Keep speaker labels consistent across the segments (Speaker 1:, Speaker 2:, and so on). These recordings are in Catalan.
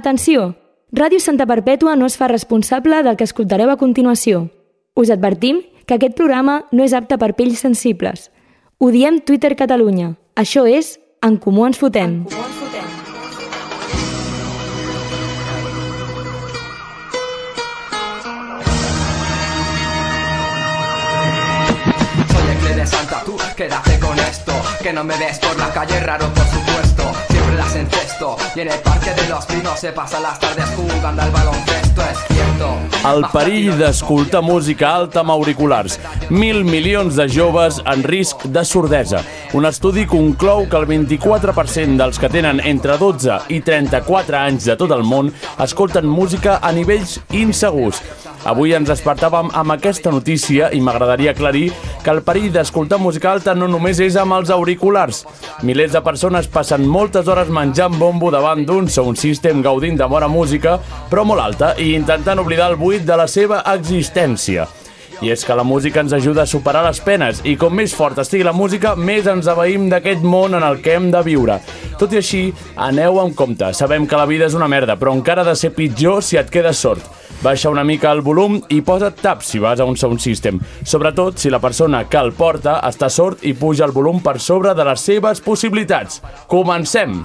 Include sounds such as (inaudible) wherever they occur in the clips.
Speaker 1: Atenció! Ràdio Santa Perpètua no es fa responsable del que escoltareu a continuació. Us advertim que aquest programa no és apte per pells sensibles. Ho diem Twitter Catalunya. Això és En Comú Ens Fotem.
Speaker 2: Soy el Cle de Santa, tú quédate con esto Que no me ves por la calle, raro por supuesto Siempre las encesto Y en el parque de los pinos se pasan las tardes jugando al baloncesto Es cierto
Speaker 3: El perill d'escoltar música alta amb auriculars. Mil milions de joves en risc de sordesa. Un estudi conclou que el 24% dels que tenen entre 12 i 34 anys de tot el món escolten música a nivells insegurs. Avui ens despertàvem amb aquesta notícia i m'agradaria aclarir que el perill d'escoltar música alta no només és amb els auriculars. Milers de persones passen moltes hores menjant bombo davant d'un sound system gaudint de bona música, però molt alta, i intentant oblidar el buit de la seva existència. I és que la música ens ajuda a superar les penes i com més forta estigui la música, més ens abeïm d'aquest món en el que hem de viure. Tot i així, aneu amb compte. Sabem que la vida és una merda, però encara ha de ser pitjor si et queda sort. Baixa una mica el volum i posa tap si vas a un sound system. Sobretot si la persona que el porta està sort i puja el volum per sobre de les seves possibilitats. Comencem!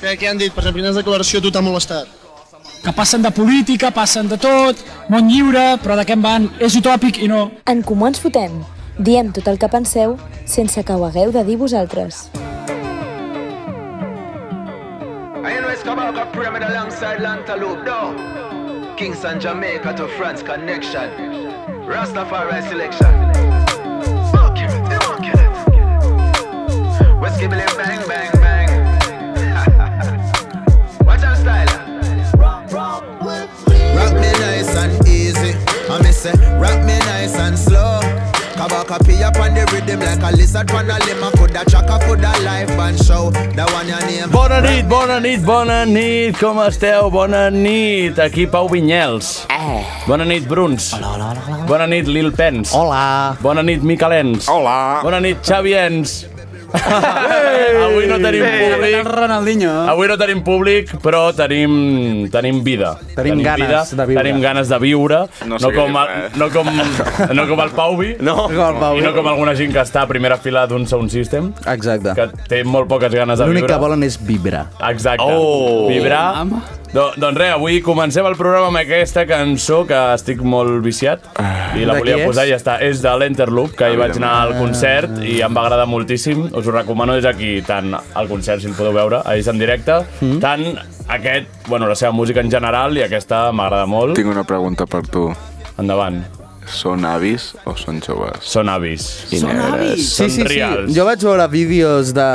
Speaker 4: Què, què han dit? Per exemple, quines declaració a tu t'ha molestat?
Speaker 5: que passen de política, passen de tot, món lliure, però de què en van? És utòpic i no.
Speaker 6: En Comú Ens Fotem. Diem tot el que penseu sense que ho hagueu de dir vosaltres.
Speaker 2: I know it's Kabaka Pyramid alongside Lantaloup no. Kingston, Jamaica to France connection Rastafari selection Fuck it, they won't get it. Whiskey Billy bang bang (laughs) bang Watch our style
Speaker 7: Rock me nice and easy. I me say, rock me nice and slow. Kabaka pee up on the rhythm like a lizard on a limb. I coulda chaka, coulda live band show. That one your name.
Speaker 3: Bona nit, bona nit, bona nit, com esteu? Bona nit, aquí Pau Vinyels. Eh. Bona nit, Bruns. Hola, hola, hola, hola. Bona nit, Lil Pens. Hola. Bona nit, Miquelens. Hola. Bona nit, Xavi Ens. Avui no tenim
Speaker 5: El
Speaker 3: públic.
Speaker 5: Ronaldinho.
Speaker 3: Avui no tenim públic, però tenim, tenim vida.
Speaker 8: Tenim ganes de viure.
Speaker 3: Tenim ganes de viure.
Speaker 9: No
Speaker 3: no,
Speaker 9: sé
Speaker 3: com
Speaker 9: què
Speaker 3: el,
Speaker 9: dir, eh?
Speaker 3: no, com, no com el Pauvi.
Speaker 9: No.
Speaker 3: I no com alguna gent que està a primera fila d'un sound system,
Speaker 8: Exacte.
Speaker 3: que té molt poques ganes de viure.
Speaker 8: L'únic que volen és vibrar.
Speaker 3: Exacte.
Speaker 9: Oh.
Speaker 3: Vibrar. Do, doncs res, avui comencem el programa amb aquesta cançó que estic molt viciat i la
Speaker 8: De
Speaker 3: volia
Speaker 8: qui és?
Speaker 3: posar i ja està. És de l'Enterloop, que hi vaig anar al concert i em va agradar moltíssim. Us ho recomano des d'aquí, tant al concert, si el podeu veure, a en directe,
Speaker 8: Mm.
Speaker 3: tant aquest, bueno, la seva música en general i aquesta m'agrada molt.
Speaker 9: Tinc una pregunta per tu.
Speaker 3: Endavant.
Speaker 9: Són avis o són joves?
Speaker 3: Són avis.
Speaker 9: I Són avis?
Speaker 3: Són reals.
Speaker 8: Jo vaig veure vídeos de...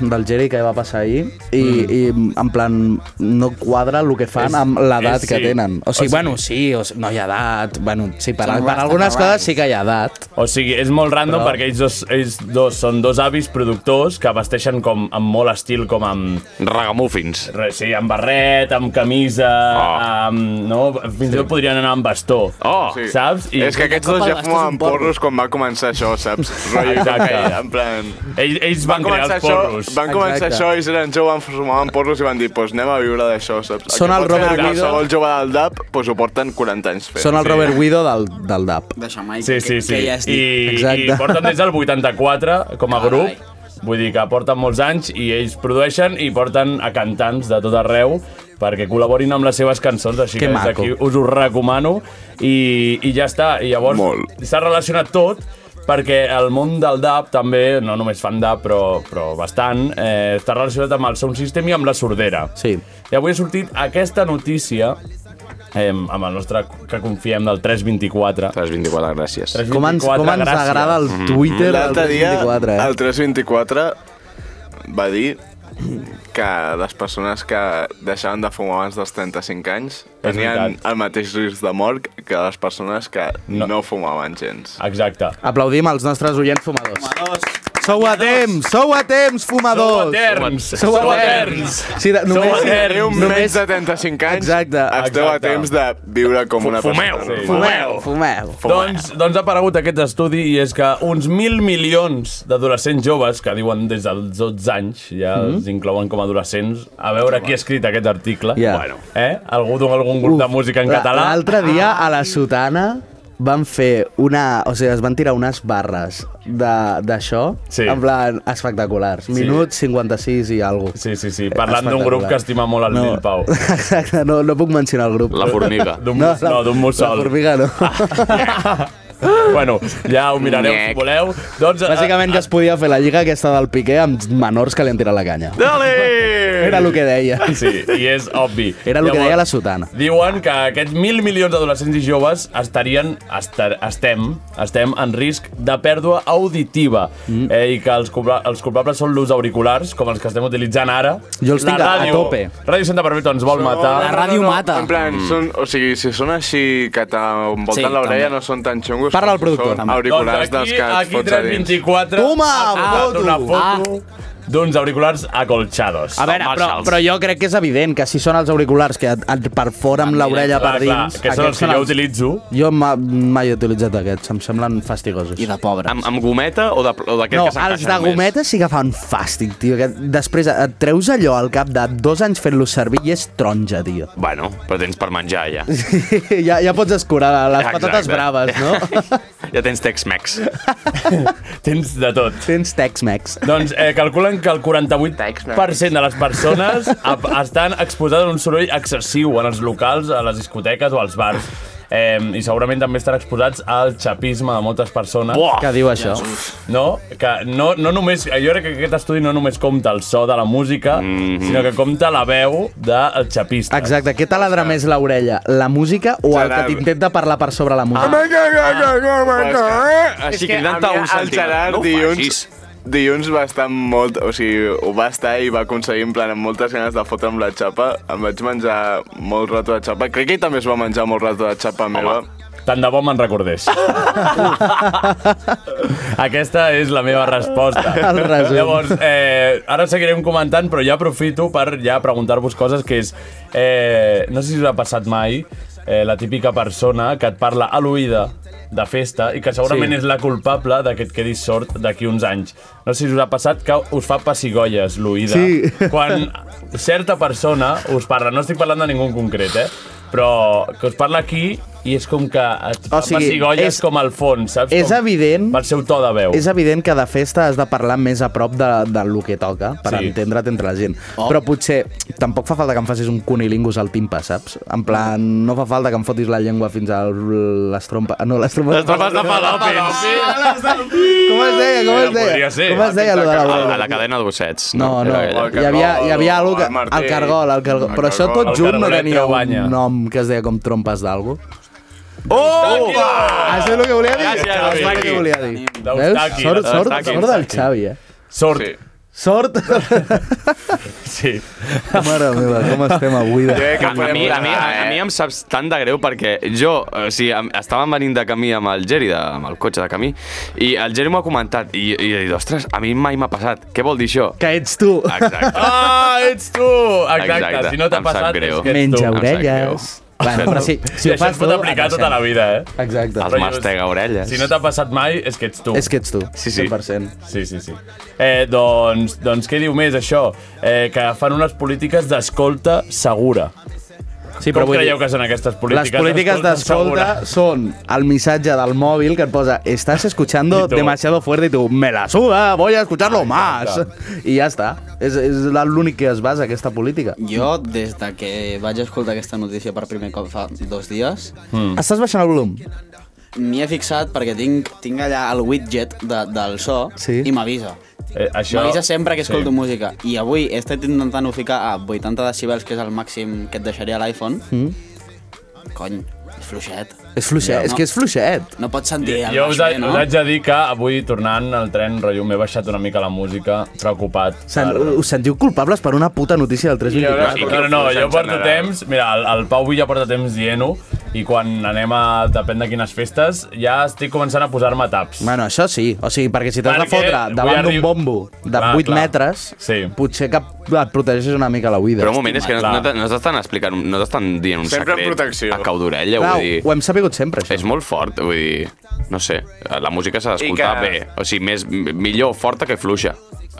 Speaker 8: del Jerry que va passar ahir i, mm. i en plan no quadra el que fan
Speaker 3: És-
Speaker 8: amb l'edat
Speaker 3: és-
Speaker 8: que
Speaker 3: sí.
Speaker 8: tenen.
Speaker 3: O
Speaker 8: O sigui,
Speaker 3: sigui-
Speaker 8: bueno, sí, o sigui, no hi ha edat. Bueno, sí, per, per algunes coses sí que hi ha edat.
Speaker 3: O sigui, és molt random
Speaker 8: Però-
Speaker 3: perquè ells dos, ells dos són dos avis productors que vesteixen com amb molt estil, com amb,
Speaker 9: Ragamuffins.
Speaker 3: Re, sí, amb barret, amb camisa,
Speaker 9: Ah.
Speaker 3: amb, no? fins i tot podrien anar amb bastó.
Speaker 9: Oh!
Speaker 3: Saps?
Speaker 9: I és que aquests dos ja fumaven porros quan va començar això, saps? Rotllo
Speaker 3: (laughs) Exacte.
Speaker 9: que en plan...
Speaker 3: Ells, ells van, van
Speaker 9: Van
Speaker 3: crear
Speaker 9: començar,
Speaker 3: els
Speaker 9: això,
Speaker 3: porros.
Speaker 9: van començar
Speaker 8: Exacte.
Speaker 9: això, ells eren joves, fumaven porros i van dir, doncs anem a viure d'això, saps?
Speaker 8: Són
Speaker 9: que
Speaker 8: el
Speaker 9: pot fer
Speaker 8: Robert
Speaker 9: que
Speaker 8: Guido.
Speaker 9: Qualsevol jove del DAP, doncs ho porten 40 anys fent.
Speaker 8: Són el Robert Guido del, del DAP.
Speaker 10: de Jamaica.
Speaker 3: Sí, sí, sí.
Speaker 10: Que, que ja has
Speaker 3: I,
Speaker 10: dit.
Speaker 3: I
Speaker 8: Exacte.
Speaker 3: porten des del 84 com a grup. Vull dir que porten molts anys i ells produeixen i porten a cantants de tot arreu perquè col·laborin amb les seves cançons, així
Speaker 8: Que
Speaker 3: que, des
Speaker 8: maco.
Speaker 3: d'aquí us ho recomano. I, I ja està. I
Speaker 9: Molt.
Speaker 3: llavors s'ha relacionat tot perquè el món del DAP també, no només fan DAP, però, però bastant, eh, està relacionat amb el sound system i amb la sordera.
Speaker 8: Sí.
Speaker 3: I avui ha sortit aquesta notícia eh, amb el nostre que confiem del 324.
Speaker 9: 324, gràcies.
Speaker 3: 324,
Speaker 8: Com ens, com ens
Speaker 3: gràcies.
Speaker 8: agrada el Twitter del
Speaker 9: L'altre dia,
Speaker 8: 24, eh?
Speaker 9: el 324 va dir que les persones que deixaven Eh, de fumar abans dels 35 anys
Speaker 3: És
Speaker 9: tenien
Speaker 3: veritat.
Speaker 9: el mateix risc de mort que les persones que
Speaker 3: No.
Speaker 9: no, fumaven gens.
Speaker 3: Exacte.
Speaker 8: Aplaudim els nostres oients fumadors.
Speaker 10: Home, dos.
Speaker 8: Sou a temps, sou a temps, fumadors!
Speaker 3: Eterns.
Speaker 8: Sou
Speaker 3: Sou
Speaker 8: eterns.
Speaker 3: eterns.
Speaker 8: Sí, de- només-
Speaker 3: Sou
Speaker 9: Teniu
Speaker 3: eterns.
Speaker 9: menys de 35 anys,
Speaker 8: Exacte.
Speaker 9: esteu a
Speaker 3: Exacte.
Speaker 9: temps de viure com una persona.
Speaker 3: Fumeu.
Speaker 8: Fumeu, fumeu.
Speaker 3: Doncs, doncs ha aparegut aquest estudi i és que uns mil milions d'adolescents joves, que diuen des dels 12 anys, ja
Speaker 8: Mhm.
Speaker 3: els inclouen com a adolescents, a veure qui ha escrit aquest article.
Speaker 8: Ja.
Speaker 3: Bueno, eh? Algú d'un algun grup de música en
Speaker 8: la-
Speaker 3: català. Ah.
Speaker 8: L'altre dia a la Sotana van fer una... O sigui, es van tirar unes barres de- d'això,
Speaker 3: Sí.
Speaker 8: en plan, espectaculars. Minut 56 i alguna Eh,
Speaker 3: Sí, sí, sí, parlant d'un grup que estima molt el Lil Pau.
Speaker 8: (laughs) Exacte, no, no puc mencionar el grup.
Speaker 9: La formiga.
Speaker 3: (laughs) D'un no, no, d'un
Speaker 8: La
Speaker 3: mussol.
Speaker 8: formiga no.
Speaker 3: (laughs) bueno, ja ho mirareu si
Speaker 9: Nyec.
Speaker 3: voleu. Doncs, eh,
Speaker 8: Bàsicament que es podia fer la lliga aquesta del Piqué amb menors que li han tirat la canya.
Speaker 9: Dale!
Speaker 8: Era el que deia.
Speaker 3: (laughs) Sí, i és obvi.
Speaker 8: Era el que deia la sotana.
Speaker 3: Diuen que aquests mil milions d'adolescents i joves estarien, estar, estem, estem en risc de pèrdua auditiva mm. eh, i que els, culpa, els culpables són l'ús d'auriculars, com els que estem utilitzant ara.
Speaker 8: Jo els
Speaker 3: La
Speaker 8: tinc a- a tope.
Speaker 3: Ràdio Santa Perpetua ens vol
Speaker 5: la
Speaker 3: matar.
Speaker 5: ràdio mata.
Speaker 9: En plan,
Speaker 3: Mm.
Speaker 9: són, o sigui, si són així que t'envolten
Speaker 5: Sí,
Speaker 9: sí, l'orella
Speaker 5: també.
Speaker 9: no són tan xungos.
Speaker 8: Parla
Speaker 9: com
Speaker 8: al
Speaker 9: si
Speaker 8: productor,
Speaker 9: Són
Speaker 8: també.
Speaker 9: auriculars dels que et
Speaker 3: Doncs aquí
Speaker 9: fots a dins.
Speaker 3: 324
Speaker 8: Toma,
Speaker 3: ha
Speaker 8: foto. Ah.
Speaker 3: posat una foto d'uns auriculars acolxados.
Speaker 8: A veure, però, però jo crec que és evident que si són els auriculars que et, et perforen amb l'orella
Speaker 3: Clar,
Speaker 8: per
Speaker 3: clar,
Speaker 8: dins...
Speaker 3: aquests són els
Speaker 8: aquests
Speaker 3: que jo utilitzo.
Speaker 8: Jo ma- mai he utilitzat aquests, em semblen fastigosos.
Speaker 5: I de pobre.
Speaker 9: Amb, amb gometa o de- o d'aquest
Speaker 8: No,
Speaker 9: que s'encaixen
Speaker 8: els de
Speaker 9: més?
Speaker 8: gometes sí que fan fàstic, tio. Que després et treus allò al cap de dos anys fent-lo servir i és taronja, tio.
Speaker 9: Bueno, però tens per menjar
Speaker 8: (laughs)
Speaker 9: ja.
Speaker 8: ja, ja pots escurar les Exacte. patates
Speaker 9: Exacte.
Speaker 8: braves, no?
Speaker 9: (laughs) ja tens Tex-Mex.
Speaker 3: Tens de tot.
Speaker 8: Tens Tex-Mex.
Speaker 3: Doncs eh, calculen que el 48% de les
Speaker 8: (laughs)
Speaker 3: persones a- estan exposades a un soroll excessiu en els locals, a les discoteques o als bars. Eh, I segurament també estan exposats al xapisme de moltes persones.
Speaker 9: Oh!
Speaker 8: Que diu això?
Speaker 3: No, que no, no només, jo crec que aquest estudi no només compta el so de la música, mm
Speaker 9: Mhm.
Speaker 3: -hmm. sinó que compta la veu del xapista.
Speaker 8: Exacte, què taladra més l'orella? La música o el que t'intenta parlar per sobre la
Speaker 9: Ah,
Speaker 8: música?
Speaker 9: Així cridant-te un centímetre. Gerard no dilluns, dilluns va estar amb molt... O sigui, ho va estar i va aconseguir, en plan, amb moltes ganes de fotre amb la xapa. Em vaig menjar molt rato de xapa. Crec que ell també es va menjar molt rato de xapa meva.
Speaker 3: Tant de bo me'n
Speaker 8: (laughs)
Speaker 3: recordés. Aquesta és la meva resposta.
Speaker 8: (laughs) El resum.
Speaker 3: Llavors, eh, ara seguirem comentant, però ja aprofito per ja preguntar-vos coses que és... Eh, no sé si us ha passat mai eh, la típica persona que et parla a l'oïda de festa i que segurament
Speaker 8: Sí.
Speaker 3: sí. és la culpable de que et quedis sort d'aquí uns anys. No sé si us ha passat que us fa pessigolles l'oïda
Speaker 8: Sí.
Speaker 3: quan certa persona us parla, no estic parlant de ningú en concret, eh? però que us parla aquí i és com que et
Speaker 8: O
Speaker 3: o
Speaker 8: sigui,
Speaker 3: sigui, pessigolles
Speaker 8: és-
Speaker 3: és, com al fons, saps?
Speaker 8: és
Speaker 3: com,
Speaker 8: evident-
Speaker 3: Pel seu to de veu.
Speaker 8: És evident que de festa has de parlar més a prop de, de lo que toca per sí.
Speaker 3: Sí.
Speaker 8: entendre't entre la gent. Oh. Però potser tampoc fa falta que em facis un cunilingus al timpa, saps? En plan, no fa falta que em fotis la llengua fins a les trompes... No, les trompes...
Speaker 9: Les tropes de Falopins.
Speaker 8: Ah, Com es deia? Com
Speaker 3: Bueno,
Speaker 8: es
Speaker 3: podria
Speaker 8: deia?
Speaker 3: ser.
Speaker 8: Com es deia, allò de la
Speaker 9: A, a la cadena d'ossets.
Speaker 8: No, no,
Speaker 9: Era ella.
Speaker 8: hi havia, hi havia algo que...
Speaker 9: el martell.
Speaker 8: El cargol, el cargol.
Speaker 9: El
Speaker 8: Però això
Speaker 9: cargol.
Speaker 8: tot
Speaker 3: El
Speaker 8: junt no
Speaker 3: cargolet
Speaker 8: tenia
Speaker 3: trebanya.
Speaker 8: un nom que es deia com trompes d'algo.
Speaker 9: Oh!
Speaker 8: Això és el que volia dir.
Speaker 9: Gràcies,
Speaker 8: Això és el
Speaker 9: Eustaqui.
Speaker 8: que volia dir. Veus?
Speaker 3: Ah. D'Eustaqui,
Speaker 8: Sort, sort,
Speaker 9: d'Eustaqui,
Speaker 8: sort del
Speaker 3: Eustaqui.
Speaker 8: Xavi, eh?
Speaker 3: Sort.
Speaker 9: Sí.
Speaker 8: Sort!
Speaker 3: Sí.
Speaker 8: Mare meva, com estem avui.
Speaker 9: Jo
Speaker 8: De...
Speaker 9: crec que
Speaker 10: A
Speaker 9: podem
Speaker 10: mi, a, mi,
Speaker 9: votar,
Speaker 10: a, a
Speaker 9: eh?
Speaker 10: mi em saps tant de greu perquè jo, o sigui, em- estàvem venint de camí amb el Geri, de, amb el cotxe de camí, i el Geri m'ho ha comentat, i, i he dit, ostres, a mi mai m'ha passat. Què vol dir això?
Speaker 8: Que ets tu.
Speaker 10: Exacte.
Speaker 3: Ah, ets tu! Exacte,
Speaker 10: Exacte,
Speaker 3: si no t'ha
Speaker 10: em sap
Speaker 3: passat
Speaker 10: greu.
Speaker 3: és que ets tu.
Speaker 8: Menja
Speaker 10: em sap
Speaker 8: orelles. Bueno, però sí, si
Speaker 3: Sí,
Speaker 8: ho
Speaker 3: això
Speaker 8: fas
Speaker 3: es pot
Speaker 8: tu,
Speaker 3: aplicar
Speaker 8: et
Speaker 3: tota la
Speaker 8: deixem.
Speaker 3: vida, eh?
Speaker 8: Exacte.
Speaker 10: Els mastega orelles.
Speaker 3: Si no t'ha passat mai, és que ets tu.
Speaker 8: És que ets tu,
Speaker 10: Sí, sí.
Speaker 8: 100%.
Speaker 3: Sí, sí, sí. Eh, doncs, doncs què diu més, això? Eh, que fan unes polítiques d'escolta segura.
Speaker 8: Sí,
Speaker 3: Com
Speaker 8: vull dir-
Speaker 3: creieu que són aquestes
Speaker 8: Les
Speaker 3: polítiques
Speaker 8: polítiques d'escolta
Speaker 3: segura?
Speaker 8: són el missatge del mòbil que et posa estás escuchando
Speaker 3: I tu.
Speaker 8: demasiado fuerte y tu me la suda, voy a escucharlo más.
Speaker 3: Exacte.
Speaker 8: I ja està. És, és l'únic que es basa aquesta política.
Speaker 11: Jo, des de que vaig escoltar aquesta notícia per primer cop fa dos dies,
Speaker 8: Mm. Estàs baixant el volum?
Speaker 11: m'hi he fixat perquè tinc, tinc allà el widget de, del so
Speaker 8: Sí.
Speaker 11: i m'avisa.
Speaker 3: Eh, això...
Speaker 11: M'avisa sempre que escolto
Speaker 3: sí.
Speaker 11: música. I avui he estat intentant-ho ficar a 80 decibels, que és el màxim que et deixaria l'iPhone. Mm. Cony, és fluixet.
Speaker 8: És fluixet,
Speaker 11: No.
Speaker 8: és que és fluixet.
Speaker 11: No pots sentir el
Speaker 3: Jo us,
Speaker 11: baix
Speaker 3: ha,
Speaker 11: bé, no?
Speaker 3: us haig de dir que avui, tornant al tren, rotllo, m'he baixat una mica la música, preocupat.
Speaker 8: Sen,
Speaker 3: per-
Speaker 8: us sentiu culpables per una puta notícia del
Speaker 9: I ara-
Speaker 8: 324?
Speaker 3: No, no, no, jo porto temps... Mira, el, el Pau Villa porta temps dient-ho, i quan anem a depèn de quines festes ja estic començant a posar-me taps.
Speaker 8: Bueno, això sí. O sigui, perquè si t'has de
Speaker 3: Perquè
Speaker 8: fotre
Speaker 3: vull
Speaker 8: davant d'un
Speaker 3: arri-
Speaker 8: bombo de
Speaker 10: Clar,
Speaker 8: 8
Speaker 10: clar.
Speaker 8: metres, sí. potser que et protegeixes una mica la vida.
Speaker 10: Però un moment, és que no, no, te- no t'estan explicant, no t'estan
Speaker 11: eh?
Speaker 10: dient un
Speaker 8: Sempre amb
Speaker 10: secret protecció. a cau d'orella,
Speaker 8: Clar,
Speaker 10: vull dir...
Speaker 8: ho hem sabut sempre, això.
Speaker 10: És molt fort, vull dir... No sé, la música s'ha
Speaker 9: I
Speaker 10: d'escoltar
Speaker 9: que-
Speaker 10: bé. O sigui, més, millor forta que fluixa.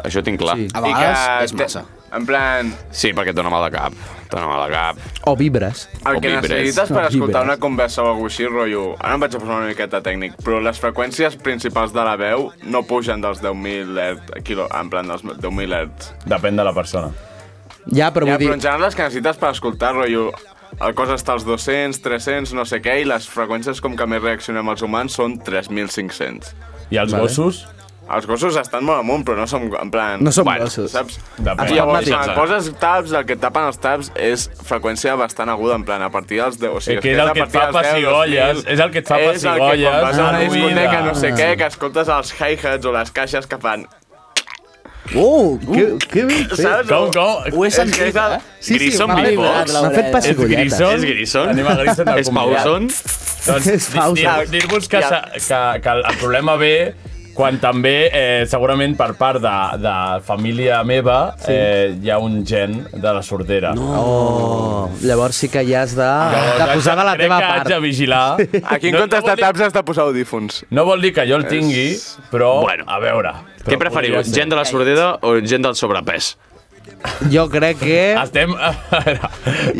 Speaker 10: Això ho tinc clar. Sí.
Speaker 9: A I vegades que és te- massa.
Speaker 10: En plan... Sí, perquè et dona mal de cap. Et dona mal de cap.
Speaker 8: O vibres.
Speaker 9: El
Speaker 10: O
Speaker 9: que
Speaker 10: vibres.
Speaker 9: necessites per
Speaker 10: O
Speaker 9: escoltar
Speaker 10: vibres.
Speaker 9: una conversa o alguna cosa així, rotllo... Ara em vaig a posar una miqueta tècnic, però les freqüències principals de la veu no pugen dels 10.000 hertz, quilo, en plan dels 10.000 hertz.
Speaker 3: Depèn de la persona.
Speaker 8: Ja, però
Speaker 9: ja,
Speaker 8: vull dir...
Speaker 9: però en general les que necessites per escoltar, rotllo... El cos està als 200, 300, no sé què, i les freqüències com que més reaccionem els humans són 3.500.
Speaker 3: I els Vale. gossos?
Speaker 9: Els gossos estan molt amunt, però no som, en plan...
Speaker 8: No som gossos.
Speaker 9: Saps?
Speaker 8: Depèn.
Speaker 9: Llavors,
Speaker 8: Estan
Speaker 9: en
Speaker 8: matins.
Speaker 9: coses taps, el que et tapen els taps és freqüència bastant aguda, en plan, a partir dels 10... O
Speaker 3: Sí,
Speaker 9: sigui,
Speaker 3: Eh, que és
Speaker 9: a
Speaker 3: el que et fa
Speaker 9: partir dels 10,
Speaker 3: pessigolles,
Speaker 9: 2000,
Speaker 3: és el que et fa
Speaker 9: és el que quan
Speaker 3: pessigolles,
Speaker 9: vas a
Speaker 3: Ah,
Speaker 9: la discoteca, no sé
Speaker 3: mira.
Speaker 9: què, que escoltes els hi-hats o les caixes que fan...
Speaker 8: Uh, que, que ben fet.
Speaker 9: Saps?
Speaker 8: Com,
Speaker 9: com? Ho he sentit, eh?
Speaker 8: Sí, sí, m'ha vibrat, M'ha fet pessigolletes.
Speaker 10: És Grison?
Speaker 3: Anem a
Speaker 10: (laughs)
Speaker 3: Grison.
Speaker 10: És Pauson?
Speaker 8: (laughs)
Speaker 3: Doncs,
Speaker 10: Pauson.
Speaker 3: dir- dir-vos que,
Speaker 10: Ja.
Speaker 3: s'ha- que, que el problema ve quan també, eh, segurament per part de, de família meva,
Speaker 8: Sí.
Speaker 3: eh, hi ha un gen de la sordera.
Speaker 8: Oh, llavors sí Ah, que ja has de, de posar de la
Speaker 3: crec
Speaker 8: teva
Speaker 3: que
Speaker 8: part.
Speaker 3: Haig de
Speaker 8: (laughs)
Speaker 3: vigilar.
Speaker 9: Aquí en comptes de taps has de posar audífons.
Speaker 3: No vol dir que jo el tingui, però bueno, a veure.
Speaker 10: Què preferiu, gent de la sordera o gent del sobrepès?
Speaker 8: Jo crec que...
Speaker 10: Ah,
Speaker 3: Estem... (laughs) A veure,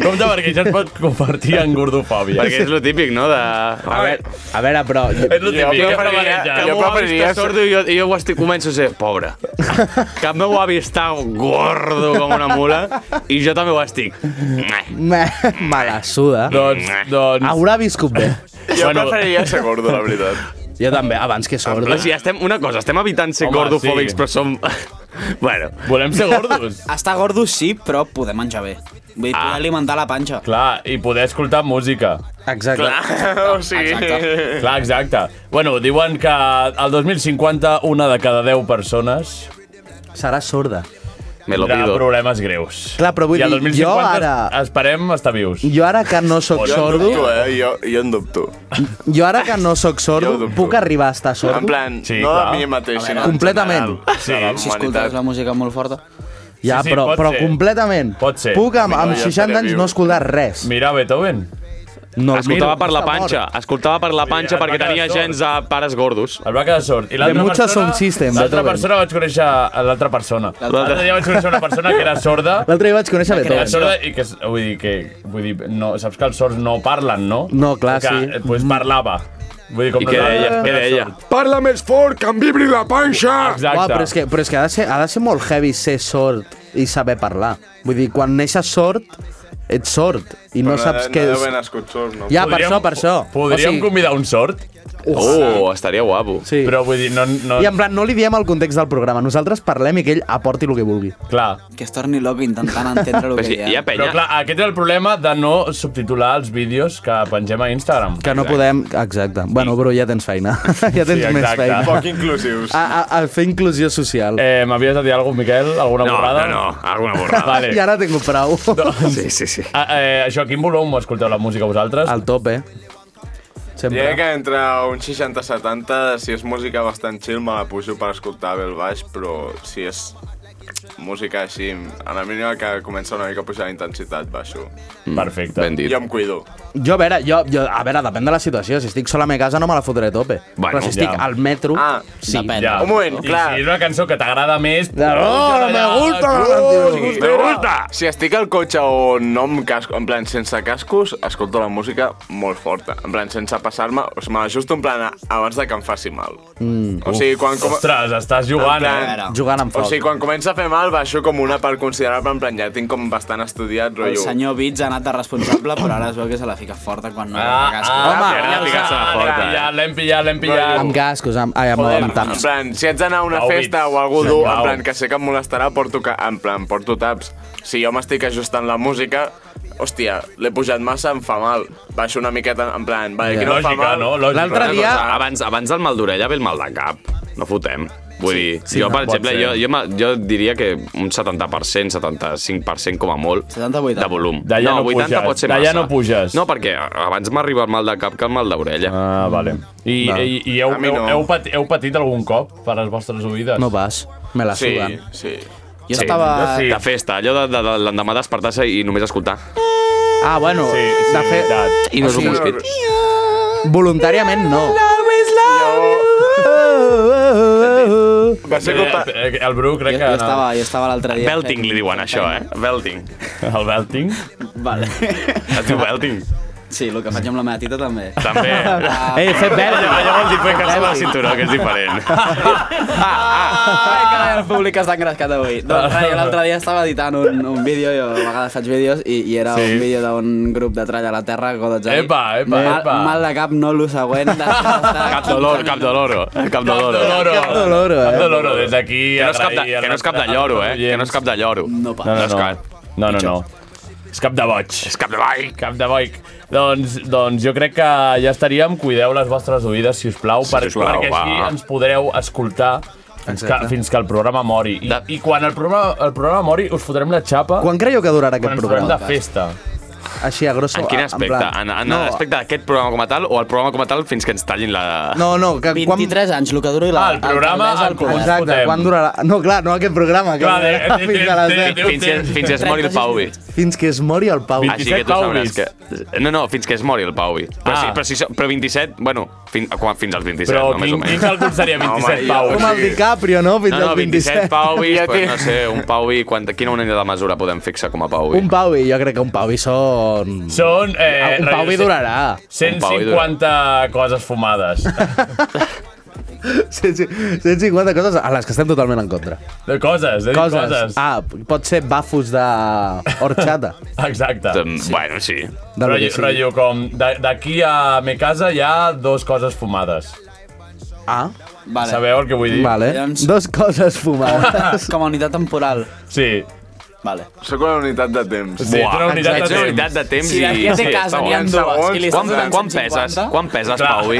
Speaker 3: compte perquè això es pot convertir en gordofòbia.
Speaker 10: Perquè és lo típic, no? De... A
Speaker 8: veure, a veure però...
Speaker 10: És
Speaker 3: lo típic,
Speaker 10: preferiria...
Speaker 3: que prevaleja.
Speaker 10: Que el
Speaker 3: Jo
Speaker 10: meu avi
Speaker 3: preferiria
Speaker 10: està sordo i jo, i jo ho estic, començo a ser (laughs) pobre. Que el meu avi està gordo com una mula i jo també ho estic.
Speaker 8: Me, me la suda.
Speaker 10: Doncs- doncs-
Speaker 8: Haurà viscut
Speaker 10: (laughs)
Speaker 8: bé.
Speaker 9: Jo bueno, preferiria ser gordo, la veritat.
Speaker 8: Jo també, abans que sordo.
Speaker 10: Però si estem, una cosa, estem evitant ser
Speaker 11: Home,
Speaker 10: gordofòbics,
Speaker 11: sí.
Speaker 10: però som... (laughs) bueno.
Speaker 3: Volem ser gordos.
Speaker 11: Estar gordos sí, però poder menjar bé. Vull dir, poder alimentar la panxa.
Speaker 3: Clar, i poder escoltar música.
Speaker 8: Exacte.
Speaker 9: Clar, o sigui...
Speaker 3: Exacte. Clar, exacte. Bueno, diuen que al 2050 una de cada 10 persones
Speaker 8: serà sorda.
Speaker 10: Me
Speaker 8: lo pido.
Speaker 3: problemes greus.
Speaker 8: Clar, però vull
Speaker 3: I al
Speaker 8: dir,
Speaker 3: 2050
Speaker 8: jo ara-
Speaker 3: esperem estar vius.
Speaker 8: Jo ara que no sóc
Speaker 9: Jo en
Speaker 8: sordo...
Speaker 9: dubto, eh? Jo, jo en dubto.
Speaker 8: Jo ara que no sóc sordo, puc arribar a estar sordo?
Speaker 9: En plan, Sí, no de clar. mi mateix,
Speaker 8: A
Speaker 9: sinó en
Speaker 8: Completament.
Speaker 9: general. Sí.
Speaker 11: Si escoltes la música molt forta.
Speaker 8: Ja,
Speaker 11: Sí, sí,
Speaker 8: però,
Speaker 11: pot
Speaker 8: però
Speaker 11: ser.
Speaker 8: completament.
Speaker 11: Pot ser.
Speaker 8: Puc amb,
Speaker 11: No,
Speaker 8: amb
Speaker 11: ja
Speaker 8: 60
Speaker 11: estaré
Speaker 8: anys
Speaker 11: viu.
Speaker 8: no escoltar res.
Speaker 3: Mira Beethoven.
Speaker 8: No el
Speaker 10: Escoltava
Speaker 8: miro,
Speaker 10: per la
Speaker 8: està mort.
Speaker 10: panxa, escoltava per la panxa perquè tenia gens de pares gordos.
Speaker 3: Es va quedar sort. I
Speaker 10: l'altra
Speaker 3: l'altra
Speaker 8: muchas
Speaker 3: persona-
Speaker 8: sound system,
Speaker 3: L'altra
Speaker 8: Beethoven.
Speaker 3: persona vaig conèixer a l'altra persona. L'altre dia vaig conèixer una persona que era sorda.
Speaker 8: L'altre dia vaig conèixer
Speaker 3: Que era
Speaker 8: Beethoven.
Speaker 3: sorda i que, és- vull dir, que vull dir, no, saps que els sords no parlen, no?
Speaker 8: No, clar,
Speaker 3: que,
Speaker 8: sí. Mm.
Speaker 3: eh, Doncs parlava. Vull dir, com
Speaker 8: I què
Speaker 3: nosaltres,
Speaker 8: deia?
Speaker 3: però
Speaker 8: Què deia?
Speaker 3: sord.
Speaker 12: Parla més fort, que em vibri la panxa!
Speaker 8: Uau, però és que, però és que ha, de ser, ha de ser molt heavy ser sord i saber parlar. Vull dir, quan neixes sord, ets sord i no
Speaker 9: Però
Speaker 8: saps
Speaker 9: no
Speaker 8: què
Speaker 9: deu
Speaker 8: és.
Speaker 9: haver nascut sord, no?
Speaker 8: Ja, per això, per això.
Speaker 3: Podríem convidar un sord?
Speaker 10: Oh, estaria guapo.
Speaker 8: Sí.
Speaker 3: Però vull dir, no... no...
Speaker 8: I en plan, no li diem el context del programa. Nosaltres parlem i que ell aporti el que vulgui.
Speaker 3: Clar.
Speaker 11: Que es torni loco intentant entendre el que hi ha.
Speaker 3: Però clar, aquest és el problema de no subtitular els vídeos que pengem a Instagram.
Speaker 8: Que no podem... Exacte. Bueno, bro, ja tens feina. (laughs) ja tens
Speaker 3: Sí,
Speaker 8: més
Speaker 3: exacte.
Speaker 8: feina.
Speaker 3: Poc
Speaker 9: inclusius.
Speaker 8: A, a, a fer inclusió social.
Speaker 3: Eh, M'havies de dir alguna cosa, Miquel? Alguna
Speaker 8: No,
Speaker 3: borrada?
Speaker 8: no, no,
Speaker 10: alguna
Speaker 8: borrada. (laughs) Ja ara tinc prou.
Speaker 9: Doncs-
Speaker 10: Sí, sí, sí.
Speaker 3: Ah, eh, això, a quin volum escolteu la música vosaltres?
Speaker 8: Al tope. Sempre.
Speaker 9: Diré que entre un 60-70, si és música bastant chill, me la pujo per escoltar bé el baix, però si és música així, a la mínima que comença una mica a pujar la intensitat, baixo.
Speaker 3: Perfecte.
Speaker 10: Ben dit.
Speaker 9: Jo em cuido.
Speaker 8: Jo, a veure, jo, jo, a veure, depèn de la situació. Si estic sola a la meva casa no me la fotré a tope.
Speaker 10: Bueno,
Speaker 8: Però si estic
Speaker 10: ja.
Speaker 8: al metro... Ah, sí.
Speaker 3: Ja. I si és una cançó que t'agrada més... doncs
Speaker 8: No, "Oh, no me gusta,
Speaker 10: Oh,
Speaker 9: O sigui, Ah. Si estic al cotxe o no amb casco, en plan, sense cascos, escolto la música molt forta. En plan, sense passar-me, o sigui, me l'ajusto en plan abans de que em faci mal.
Speaker 8: Mm.
Speaker 9: O sigui, quan... Com...
Speaker 3: Ostres, estàs jugant,
Speaker 9: En
Speaker 3: eh?
Speaker 8: Jugant amb
Speaker 9: O
Speaker 8: foc.
Speaker 9: sigui, quan comença a fer mal, baixo com una part considerable, en plan, ja tinc com bastant estudiat,
Speaker 11: El
Speaker 9: rotllo.
Speaker 11: senyor Bits ha anat de responsable, però ara es veu que se la fica forta quan no ah,
Speaker 9: Ah,
Speaker 11: era casco.
Speaker 9: ah, Home,
Speaker 3: ja l'hem
Speaker 9: ficat-se la forta, eh?
Speaker 3: pillat, l'hem pillat, l'hem pillat.
Speaker 8: Amb cascos, amb, ai, amb,
Speaker 9: Joder,
Speaker 8: amb
Speaker 9: En
Speaker 8: taps.
Speaker 9: plan, si haig d'anar a una
Speaker 8: Au,
Speaker 9: festa
Speaker 8: bits.
Speaker 9: o algú dur, en
Speaker 8: Au.
Speaker 9: plan, que sé que em molestarà, porto, ca... en plan, porto taps. Si jo m'estic ajustant la música, hòstia, l'he pujat massa, em fa mal. Baixo una miqueta, en plan, vale, aquí no em fa mal.
Speaker 10: Doncs Una cosa, Abans, abans del mal d'orella ve el mal de cap. No fotem. Vull sí, dir, sí, jo,
Speaker 11: no,
Speaker 10: per
Speaker 11: pot
Speaker 10: exemple,
Speaker 11: ser.
Speaker 10: jo, jo, me- jo diria que un 70%, 75% com a molt
Speaker 11: 78.
Speaker 10: de volum.
Speaker 3: D'allà no puges,
Speaker 10: pot ser
Speaker 3: d'allà
Speaker 10: massa.
Speaker 3: no puges.
Speaker 10: No, perquè abans m'arriba el mal de cap que el mal d'orella.
Speaker 3: Ah, vale. I,
Speaker 10: No.
Speaker 3: i, i heu,
Speaker 10: A mi no.
Speaker 3: heu, heu, patit, heu patit algun cop per les vostres oïdes?
Speaker 10: No
Speaker 8: vas, me la
Speaker 10: Sí,
Speaker 8: sudan.
Speaker 10: sí.
Speaker 8: Jo estava-
Speaker 10: De festa, allò de, de, de l'endemà despertar-se i només escoltar.
Speaker 8: Ah, bueno, sí, sí, de fet...
Speaker 10: I no és un mosquit.
Speaker 8: Voluntàriament no.
Speaker 10: Va ser culpa-
Speaker 3: El Bru crec que...
Speaker 11: Jo
Speaker 3: no.
Speaker 11: estava, jo estava l'altre dia...
Speaker 10: Eh, Belting li diuen això, eh? Belting.
Speaker 3: El belting?
Speaker 10: (laughs)
Speaker 11: Vale.
Speaker 10: Es diu belting.
Speaker 11: Sí, el que faig amb la meva tita també. (laughs)
Speaker 10: També.
Speaker 11: Ah,
Speaker 8: Eh,
Speaker 10: Ei, fer belting. Allò- allò vol dir fer-se la cinturó, que és diferent.
Speaker 11: (laughs) Ai, que el públic està engrescat avui.
Speaker 8: Ah.
Speaker 11: Doncs, res, jo l'altre dia estava editant un, un vídeo, jo a vegades faig vídeos, i, i era
Speaker 3: Sí.
Speaker 11: un vídeo d'un grup de trall a la terra, God Jai.
Speaker 3: Epa, epa,
Speaker 11: mal,
Speaker 3: epa.
Speaker 11: Mal de cap, no lo següent.
Speaker 10: (laughs) Cap de l'oro, cap de l'oro. Cap de l'oro.
Speaker 3: Cap de l'oro, eh? Cap de l'oro, des d'aquí...
Speaker 10: Que no és cap de, que no és cap de lloro, eh? Que no és cap de lloro.
Speaker 11: No,
Speaker 3: No, no, no. No, no, no. És cap de boig. És
Speaker 10: cap de boig.
Speaker 3: Cap de boig. Doncs, doncs jo crec que ja estaríem. Cuideu les vostres oïdes, si us plau,
Speaker 10: Si
Speaker 3: per,
Speaker 10: us plau,
Speaker 3: perquè així
Speaker 10: va.
Speaker 3: ens podreu escoltar fins que,
Speaker 8: Exacte.
Speaker 3: fins que el programa mori. I, I quan el programa, el programa mori, us fotrem la xapa...
Speaker 8: Quan creieu que durarà aquest
Speaker 3: quan ens
Speaker 8: programa?
Speaker 3: fotrem de festa.
Speaker 8: Així, a grosso...
Speaker 10: En quin
Speaker 8: en
Speaker 10: aspecte?
Speaker 8: plan-
Speaker 10: En, en
Speaker 8: no,
Speaker 10: l'aspecte d'aquest programa com a tal o el programa com a tal fins que ens tallin la...
Speaker 8: No, no, que quan...
Speaker 11: 23 anys, el que duri
Speaker 3: la... Ah, el programa... El
Speaker 8: Exacte, quan durarà... No, clar, no aquest programa. Que
Speaker 3: Clar, eh,
Speaker 8: durarà
Speaker 3: eh,
Speaker 8: fins,
Speaker 3: eh,
Speaker 8: a les
Speaker 3: eh,
Speaker 8: deu.
Speaker 10: Fins, fins, fins que es mori el Pauvi.
Speaker 8: fins que es mori el Pau.
Speaker 10: Així que tu sabràs que... No, no, fins que es mori el Pauvi. Però, ah. sí, però, sí, però 27, bueno, fin, quan, fins als 27,
Speaker 3: Però
Speaker 10: no, més
Speaker 3: quin-
Speaker 10: o menys.
Speaker 3: quin càlcul
Speaker 10: (laughs)
Speaker 3: seria 27
Speaker 10: Pauvi?
Speaker 8: Com el DiCaprio, no? Fins
Speaker 10: no, no,
Speaker 8: als
Speaker 10: 27
Speaker 8: 27. (laughs)
Speaker 10: Pauvis, pues, no sé, un Pauvi, quant, quina unitat de mesura podem fixar com a Pauvi?
Speaker 8: Un Pauvi, jo crec que un Pauvi són... Ah,
Speaker 3: Són... Eh,
Speaker 8: un Pauvi durarà.
Speaker 10: Un Pauvi
Speaker 3: 150 coses
Speaker 8: (laughs)
Speaker 3: fumades.
Speaker 8: Sí, sí, 150 coses a les que estem totalment en contra.
Speaker 3: De coses, de coses. coses.
Speaker 8: Ah, pot ser bafos de horchata.
Speaker 3: Exacte.
Speaker 10: Sí. Bueno, sí.
Speaker 8: De lo que
Speaker 3: Rotllo,
Speaker 8: sigui.
Speaker 3: rotllo com de- d'aquí a me casa hi ha dos coses fumades.
Speaker 8: Ah.
Speaker 11: Vale.
Speaker 3: Sabeu el que vull dir?
Speaker 8: Vale.
Speaker 11: Llavors-
Speaker 8: Dos coses fumades.
Speaker 11: (laughs) Com a unitat temporal.
Speaker 3: Sí.
Speaker 11: Vale.
Speaker 9: Sóc una unitat de temps.
Speaker 10: Sí, Buah, tu una unitat exacte, de una temps. unitat de temps
Speaker 11: Si
Speaker 10: i-
Speaker 11: d'aquí a
Speaker 10: sí,
Speaker 11: té casa
Speaker 10: està
Speaker 11: n'hi ha
Speaker 10: guai.
Speaker 11: dues. I
Speaker 10: Quan-
Speaker 11: li estàs donant
Speaker 10: quan
Speaker 11: 150?
Speaker 10: peses? Quan peses, Pauvi?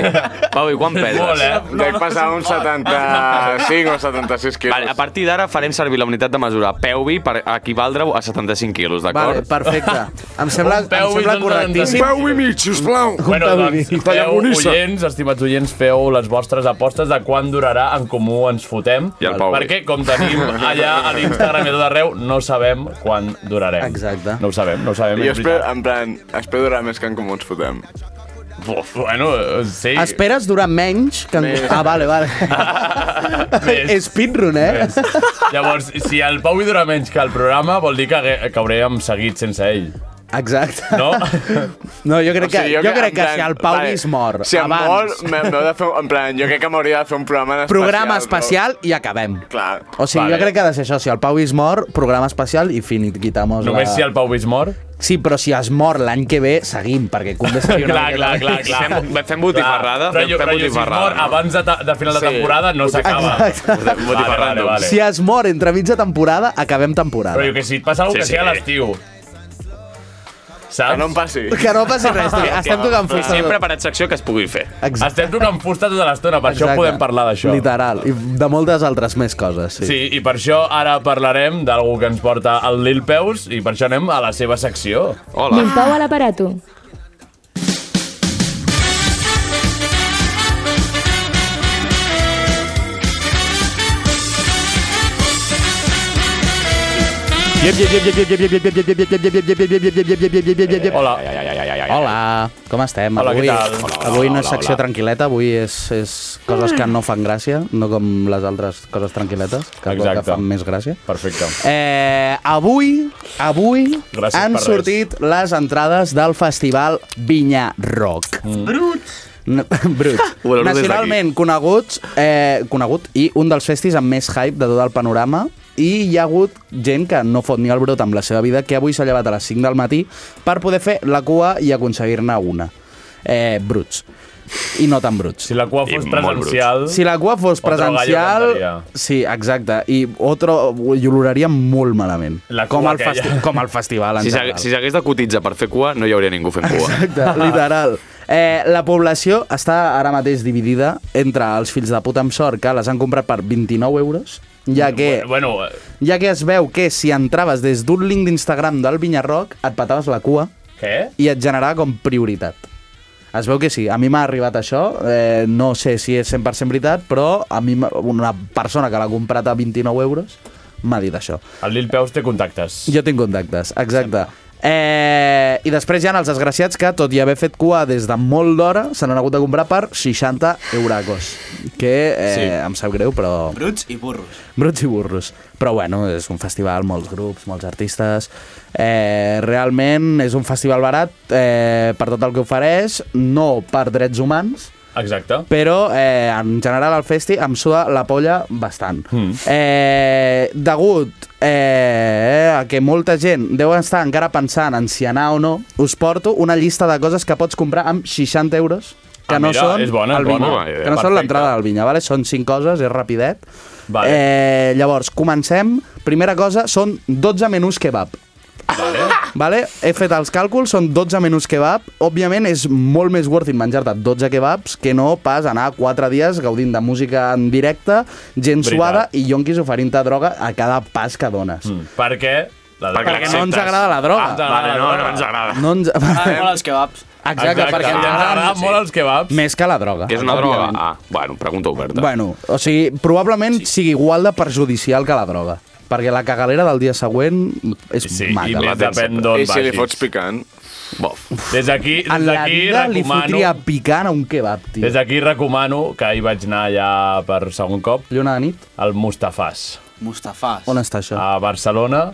Speaker 10: Pauvi, quan peses?
Speaker 9: Molt, eh? Dec passar uns 75 o 76 quilos.
Speaker 10: Vale, a partir d'ara farem servir la unitat de mesura Peuvi per equivaldre a 75 quilos,
Speaker 8: Vale,
Speaker 10: d'acord?
Speaker 8: perfecte. Em sembla,
Speaker 10: peu i
Speaker 8: em sembla
Speaker 10: dos
Speaker 8: correctíssim.
Speaker 10: Un
Speaker 12: peu i mig,
Speaker 10: (laughs)
Speaker 12: sisplau.
Speaker 3: Bueno, doncs, feu,
Speaker 12: Tallamonissa.
Speaker 3: oients, estimats oients, feu les vostres apostes de quan durarà en comú ens fotem.
Speaker 10: I el Pau.
Speaker 3: Perquè,
Speaker 10: (laughs)
Speaker 3: com tenim allà a l'Instagram i a tot arreu, no sabem quan durarem. Exacte. No ho sabem, no ho sabem. és
Speaker 9: Jo espero,
Speaker 3: veritat.
Speaker 9: en plan, eh. espero durar més que en Comú ens fotem.
Speaker 3: Buf, bueno, sí.
Speaker 8: Esperes durar menys que... En...
Speaker 3: Més.
Speaker 8: Ah, vale, vale. Speedrun, eh?
Speaker 3: (laughs) Llavors, si el Pau hi dura menys que el programa, vol dir que hague- caurem seguit sense ell.
Speaker 8: Exacte. (laughs)
Speaker 3: No?
Speaker 8: No, jo crec
Speaker 9: O sigui,
Speaker 8: que, jo crec
Speaker 9: en
Speaker 8: que
Speaker 9: plan,
Speaker 8: si el Pau
Speaker 9: vale,
Speaker 8: vale. es mor
Speaker 9: Si em mor,
Speaker 8: abans...
Speaker 9: m'he- m'heu de fer... En plan, jo crec que m'hauria de fer un programa especial.
Speaker 8: Programa especial i acabem.
Speaker 9: Clar.
Speaker 8: O sigui, vale. jo crec que ha de ser això. Si el Pau es mor, programa especial i finit, quitamos
Speaker 3: Només
Speaker 8: la...
Speaker 3: si el Pau és mort?
Speaker 8: Sí, però si es mor l'any que ve, seguim, perquè convé seguir
Speaker 3: clar,
Speaker 8: una miqueta
Speaker 3: clar,
Speaker 8: més.
Speaker 3: clar, clar.
Speaker 10: Fem, fem botifarrada,
Speaker 3: Però jo,
Speaker 10: fem
Speaker 3: però jo si es
Speaker 10: botifarrada,
Speaker 3: mor
Speaker 10: no?
Speaker 3: abans de, ta- de final
Speaker 10: Sí.
Speaker 3: de
Speaker 10: doncs.
Speaker 3: temporada no s'acaba.
Speaker 10: Exacte.
Speaker 3: Vale, vale, vale.
Speaker 8: Doncs Si es mor entre mitja temporada, acabem temporada.
Speaker 3: Però jo que si et passa alguna cosa
Speaker 10: Sí,
Speaker 3: que sigui a
Speaker 10: sí.
Speaker 3: l'estiu. Saps? Que no em
Speaker 9: passi.
Speaker 8: Que no passi res, tio. Estem tocant fusta.
Speaker 10: Sempre per secció que es pugui fer.
Speaker 8: Exacte.
Speaker 3: Estem tocant fusta tota l'estona, per
Speaker 8: Exacte.
Speaker 3: això podem parlar d'això.
Speaker 8: Literal. I de moltes altres més coses, sí.
Speaker 3: Sí, i per això ara parlarem d'algú que ens porta el Lil Peus i per això anem a la seva secció.
Speaker 1: Lil Pau a l'aparato.
Speaker 8: Hola. Hola, com estem?
Speaker 3: Hola,
Speaker 8: avui,
Speaker 3: què tal? Hola, hola,
Speaker 8: avui no
Speaker 3: hola,
Speaker 8: és secció
Speaker 3: hola.
Speaker 8: tranquil·leta, avui és, és coses que no fan gràcia, no com les altres coses tranquil·letes, que, que
Speaker 3: Exacte.
Speaker 8: fan més gràcia.
Speaker 3: Perfecte.
Speaker 8: Eh, avui, avui
Speaker 3: Gràcies
Speaker 8: han
Speaker 3: per res.
Speaker 8: sortit les entrades del festival Vinya Rock.
Speaker 3: Mm. Bruts! (laughs)
Speaker 8: (laughs) Brut.
Speaker 10: Ho valoro des
Speaker 8: Nacionalment coneguts, eh, conegut i un dels festis amb més hype de tot el panorama i hi ha hagut gent que no fot ni el brot amb la seva vida que avui s'ha llevat a les 5 del matí per poder fer la cua i aconseguir-ne una. Eh, bruts. I no tan bruts.
Speaker 3: Si la cua fos
Speaker 8: molt
Speaker 3: presencial...
Speaker 8: Si la cua fos
Speaker 3: Otro gallo
Speaker 8: presencial...
Speaker 3: cantaria.
Speaker 8: Sí, exacte. I otro i oloraria molt malament.
Speaker 10: La cua
Speaker 8: com, el
Speaker 10: aquella.
Speaker 8: festi- com el festival en
Speaker 10: Si s'hagués
Speaker 8: general.
Speaker 10: (laughs) si s'hagués de cotitzar per fer cua, no hi hauria ningú fent cua.
Speaker 8: Exacte, literal. Eh, la població està ara mateix dividida entre els fills de puta amb sort que les han comprat per 29 euros, ja que,
Speaker 3: Bueno, eh,
Speaker 8: ja que es veu que si entraves des d'un link d'Instagram del Vinyarroc et pataves la cua
Speaker 3: què?
Speaker 8: i et generava com prioritat. Es veu que sí, a mi m'ha arribat això, eh, no sé si és 100% veritat, però a mi m'ha- una persona que l'ha comprat a 29 euros m'ha dit això.
Speaker 3: El Lil Peus té contactes.
Speaker 8: Jo tinc contactes, exacte. Eh, I després hi ha els desgraciats que, tot i haver fet cua des de molt d'hora, se n'han hagut de comprar per 60 euracos. Que eh, sí.
Speaker 11: Sí.
Speaker 8: em sap greu, però...
Speaker 11: Bruts i burros.
Speaker 8: Bruts i burros. Però bueno, és un festival, molts grups, molts artistes... Eh, realment és un festival barat eh, per tot el que ofereix, no per drets humans,
Speaker 3: Exacte.
Speaker 8: però eh, en general el festi em suda la polla bastant. Mm. Eh, degut eh, a que molta gent deu estar encara pensant en si anar o no, us porto una llista de coses que pots comprar amb 60 euros que
Speaker 3: Ah,
Speaker 8: no
Speaker 3: mira,
Speaker 8: són
Speaker 3: és bona,
Speaker 8: el
Speaker 3: és bona
Speaker 8: Vinya,
Speaker 3: idea,
Speaker 8: que no són
Speaker 3: perfecte.
Speaker 8: l'entrada del vinya, vale? són 5 coses, és rapidet.
Speaker 3: Vale.
Speaker 8: Eh, llavors, comencem. Primera cosa, són 12 menús kebab.
Speaker 3: Vale.
Speaker 8: Vale? He fet els càlculs, són 12 menús kebab. Òbviament és molt més worth it menjar-te 12 kebabs que no pas anar 4 dies gaudint de música en directe, gent
Speaker 3: Veritat.
Speaker 8: suada i yonquis oferint-te droga a cada pas que dones. Mm.
Speaker 3: Perquè... La droga.
Speaker 8: Perquè no ens agrada la
Speaker 3: Ah,
Speaker 8: droga.
Speaker 3: ens agrada
Speaker 8: Vale,
Speaker 3: la
Speaker 8: no,
Speaker 3: droga.
Speaker 8: no ens agrada. No ens-
Speaker 11: M'agraden molt
Speaker 8: (laughs)
Speaker 11: els kebabs.
Speaker 8: Exacte, perquè ens
Speaker 3: ens agrada
Speaker 8: agraden-
Speaker 3: molt els kebabs.
Speaker 8: Més que la droga.
Speaker 10: Que és una droga?
Speaker 8: òbviament.
Speaker 10: Ah, bueno, pregunta oberta.
Speaker 8: Bueno, o sigui, probablement sí. sigui igual de perjudicial que la droga. Perquè la cagalera del dia següent és sí, maca.
Speaker 3: i
Speaker 8: la
Speaker 3: depèn
Speaker 8: tens.
Speaker 10: eh,
Speaker 3: d'on
Speaker 9: I si li
Speaker 3: vagis.
Speaker 9: fots picant?
Speaker 10: Bof.
Speaker 3: Des d'aquí
Speaker 8: En
Speaker 3: des
Speaker 8: la
Speaker 3: d'aquí
Speaker 8: vida li
Speaker 3: recomano...
Speaker 8: fotria picant a un kebab, tio.
Speaker 3: Des d'aquí recomano, que ahir vaig anar ja per segon cop...
Speaker 8: Lluna de nit?
Speaker 3: Al Mustafàs.
Speaker 11: Mustafàs.
Speaker 8: On està això?
Speaker 3: A Barcelona.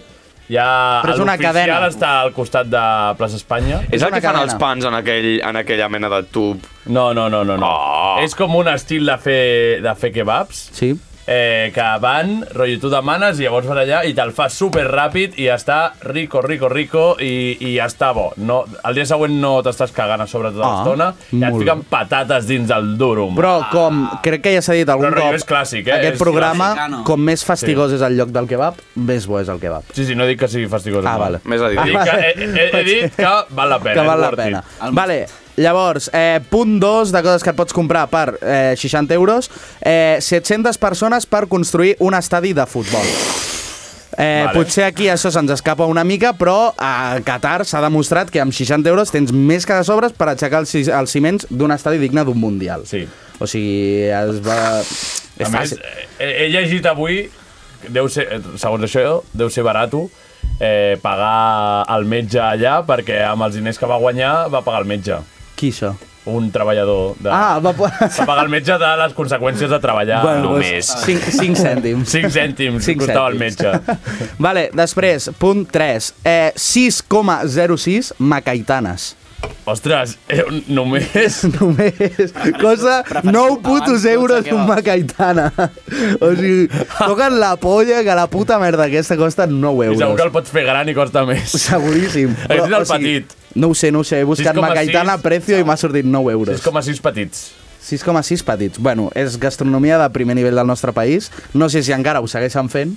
Speaker 3: Ja
Speaker 8: Ah. Però és una
Speaker 3: l'oficial
Speaker 8: cadena.
Speaker 3: està al costat de Plaça Espanya.
Speaker 10: És el que fan els pans en, aquell, en aquella mena de tub?
Speaker 3: No, no, no, no. no. Oh. És com un estil de fer, de fer kebabs.
Speaker 8: Sí.
Speaker 3: Eh, que van, rotllo, tu demanes i llavors vas allà i te'l fas super ràpid i està rico, rico, rico i, i ja està bo. No, el dia següent no t'estàs cagant a sobre tota
Speaker 8: Ah,
Speaker 3: l'estona i et
Speaker 8: molt
Speaker 3: fiquen patates dins el durum.
Speaker 8: Però com crec que ja s'ha dit algun
Speaker 3: Però rotllo
Speaker 8: cop,
Speaker 3: és clàssic, eh?
Speaker 8: aquest
Speaker 3: És
Speaker 8: programa,
Speaker 3: clàssic.
Speaker 8: com més fastigós
Speaker 3: Sí.
Speaker 8: és el lloc del kebab, més bo és el kebab.
Speaker 3: Sí, sí, no dic que sigui fastigós.
Speaker 8: Ah, vale.
Speaker 10: Més a dir.
Speaker 3: Dic que, he, he, he dit que val la pena.
Speaker 8: que
Speaker 3: és
Speaker 8: val la
Speaker 3: worth
Speaker 8: pena.
Speaker 3: it.
Speaker 8: Vale, llavors, eh, punt 2 de coses que et pots comprar per eh, 60 euros, eh, 700 persones per construir un estadi de futbol. Eh,
Speaker 3: Vale.
Speaker 8: vale. Potser aquí això se'ns escapa una mica, però a Qatar s'ha demostrat que amb 60 euros tens més que de sobres per aixecar els, ci- els ciments d'un estadi digne d'un mundial.
Speaker 3: Sí.
Speaker 8: O sigui, es va...
Speaker 3: A més, eh, he, he llegit avui, deu ser, eh, segons això, deu ser barato eh, pagar el metge allà perquè amb els diners que va guanyar va pagar el metge.
Speaker 8: Qui això?
Speaker 3: Un treballador. De...
Speaker 8: Ah, va... po-
Speaker 3: Va pagar el metge de les conseqüències de treballar.
Speaker 8: Bueno, doncs, cinc- cinc cèntims.
Speaker 3: 5 cèntims
Speaker 8: Cinc
Speaker 3: costava el metge.
Speaker 8: cèntims. Vale, després, punt 3. Eh, 6,06 macaitanes.
Speaker 3: Ostres, eh, només...
Speaker 8: Només. Cosa 9 putos euros
Speaker 3: dotze
Speaker 8: un
Speaker 3: kebabs.
Speaker 8: macaitana. O sigui, toquen la polla que la puta merda aquesta costa 9
Speaker 3: I segur que el
Speaker 8: euros.
Speaker 3: pots fer gran i costa més.
Speaker 8: Seguríssim.
Speaker 3: Has dit el
Speaker 8: o sigui,
Speaker 3: petit.
Speaker 8: No ho sé, no ho sé. He buscat
Speaker 3: 6,6.
Speaker 8: macaitana, precio i m'ha sortit 9 euros.
Speaker 3: 6,6 petits.
Speaker 8: 6,6 petits. Bueno, és gastronomia de primer nivell del nostre país. No sé si encara ho segueixen fent.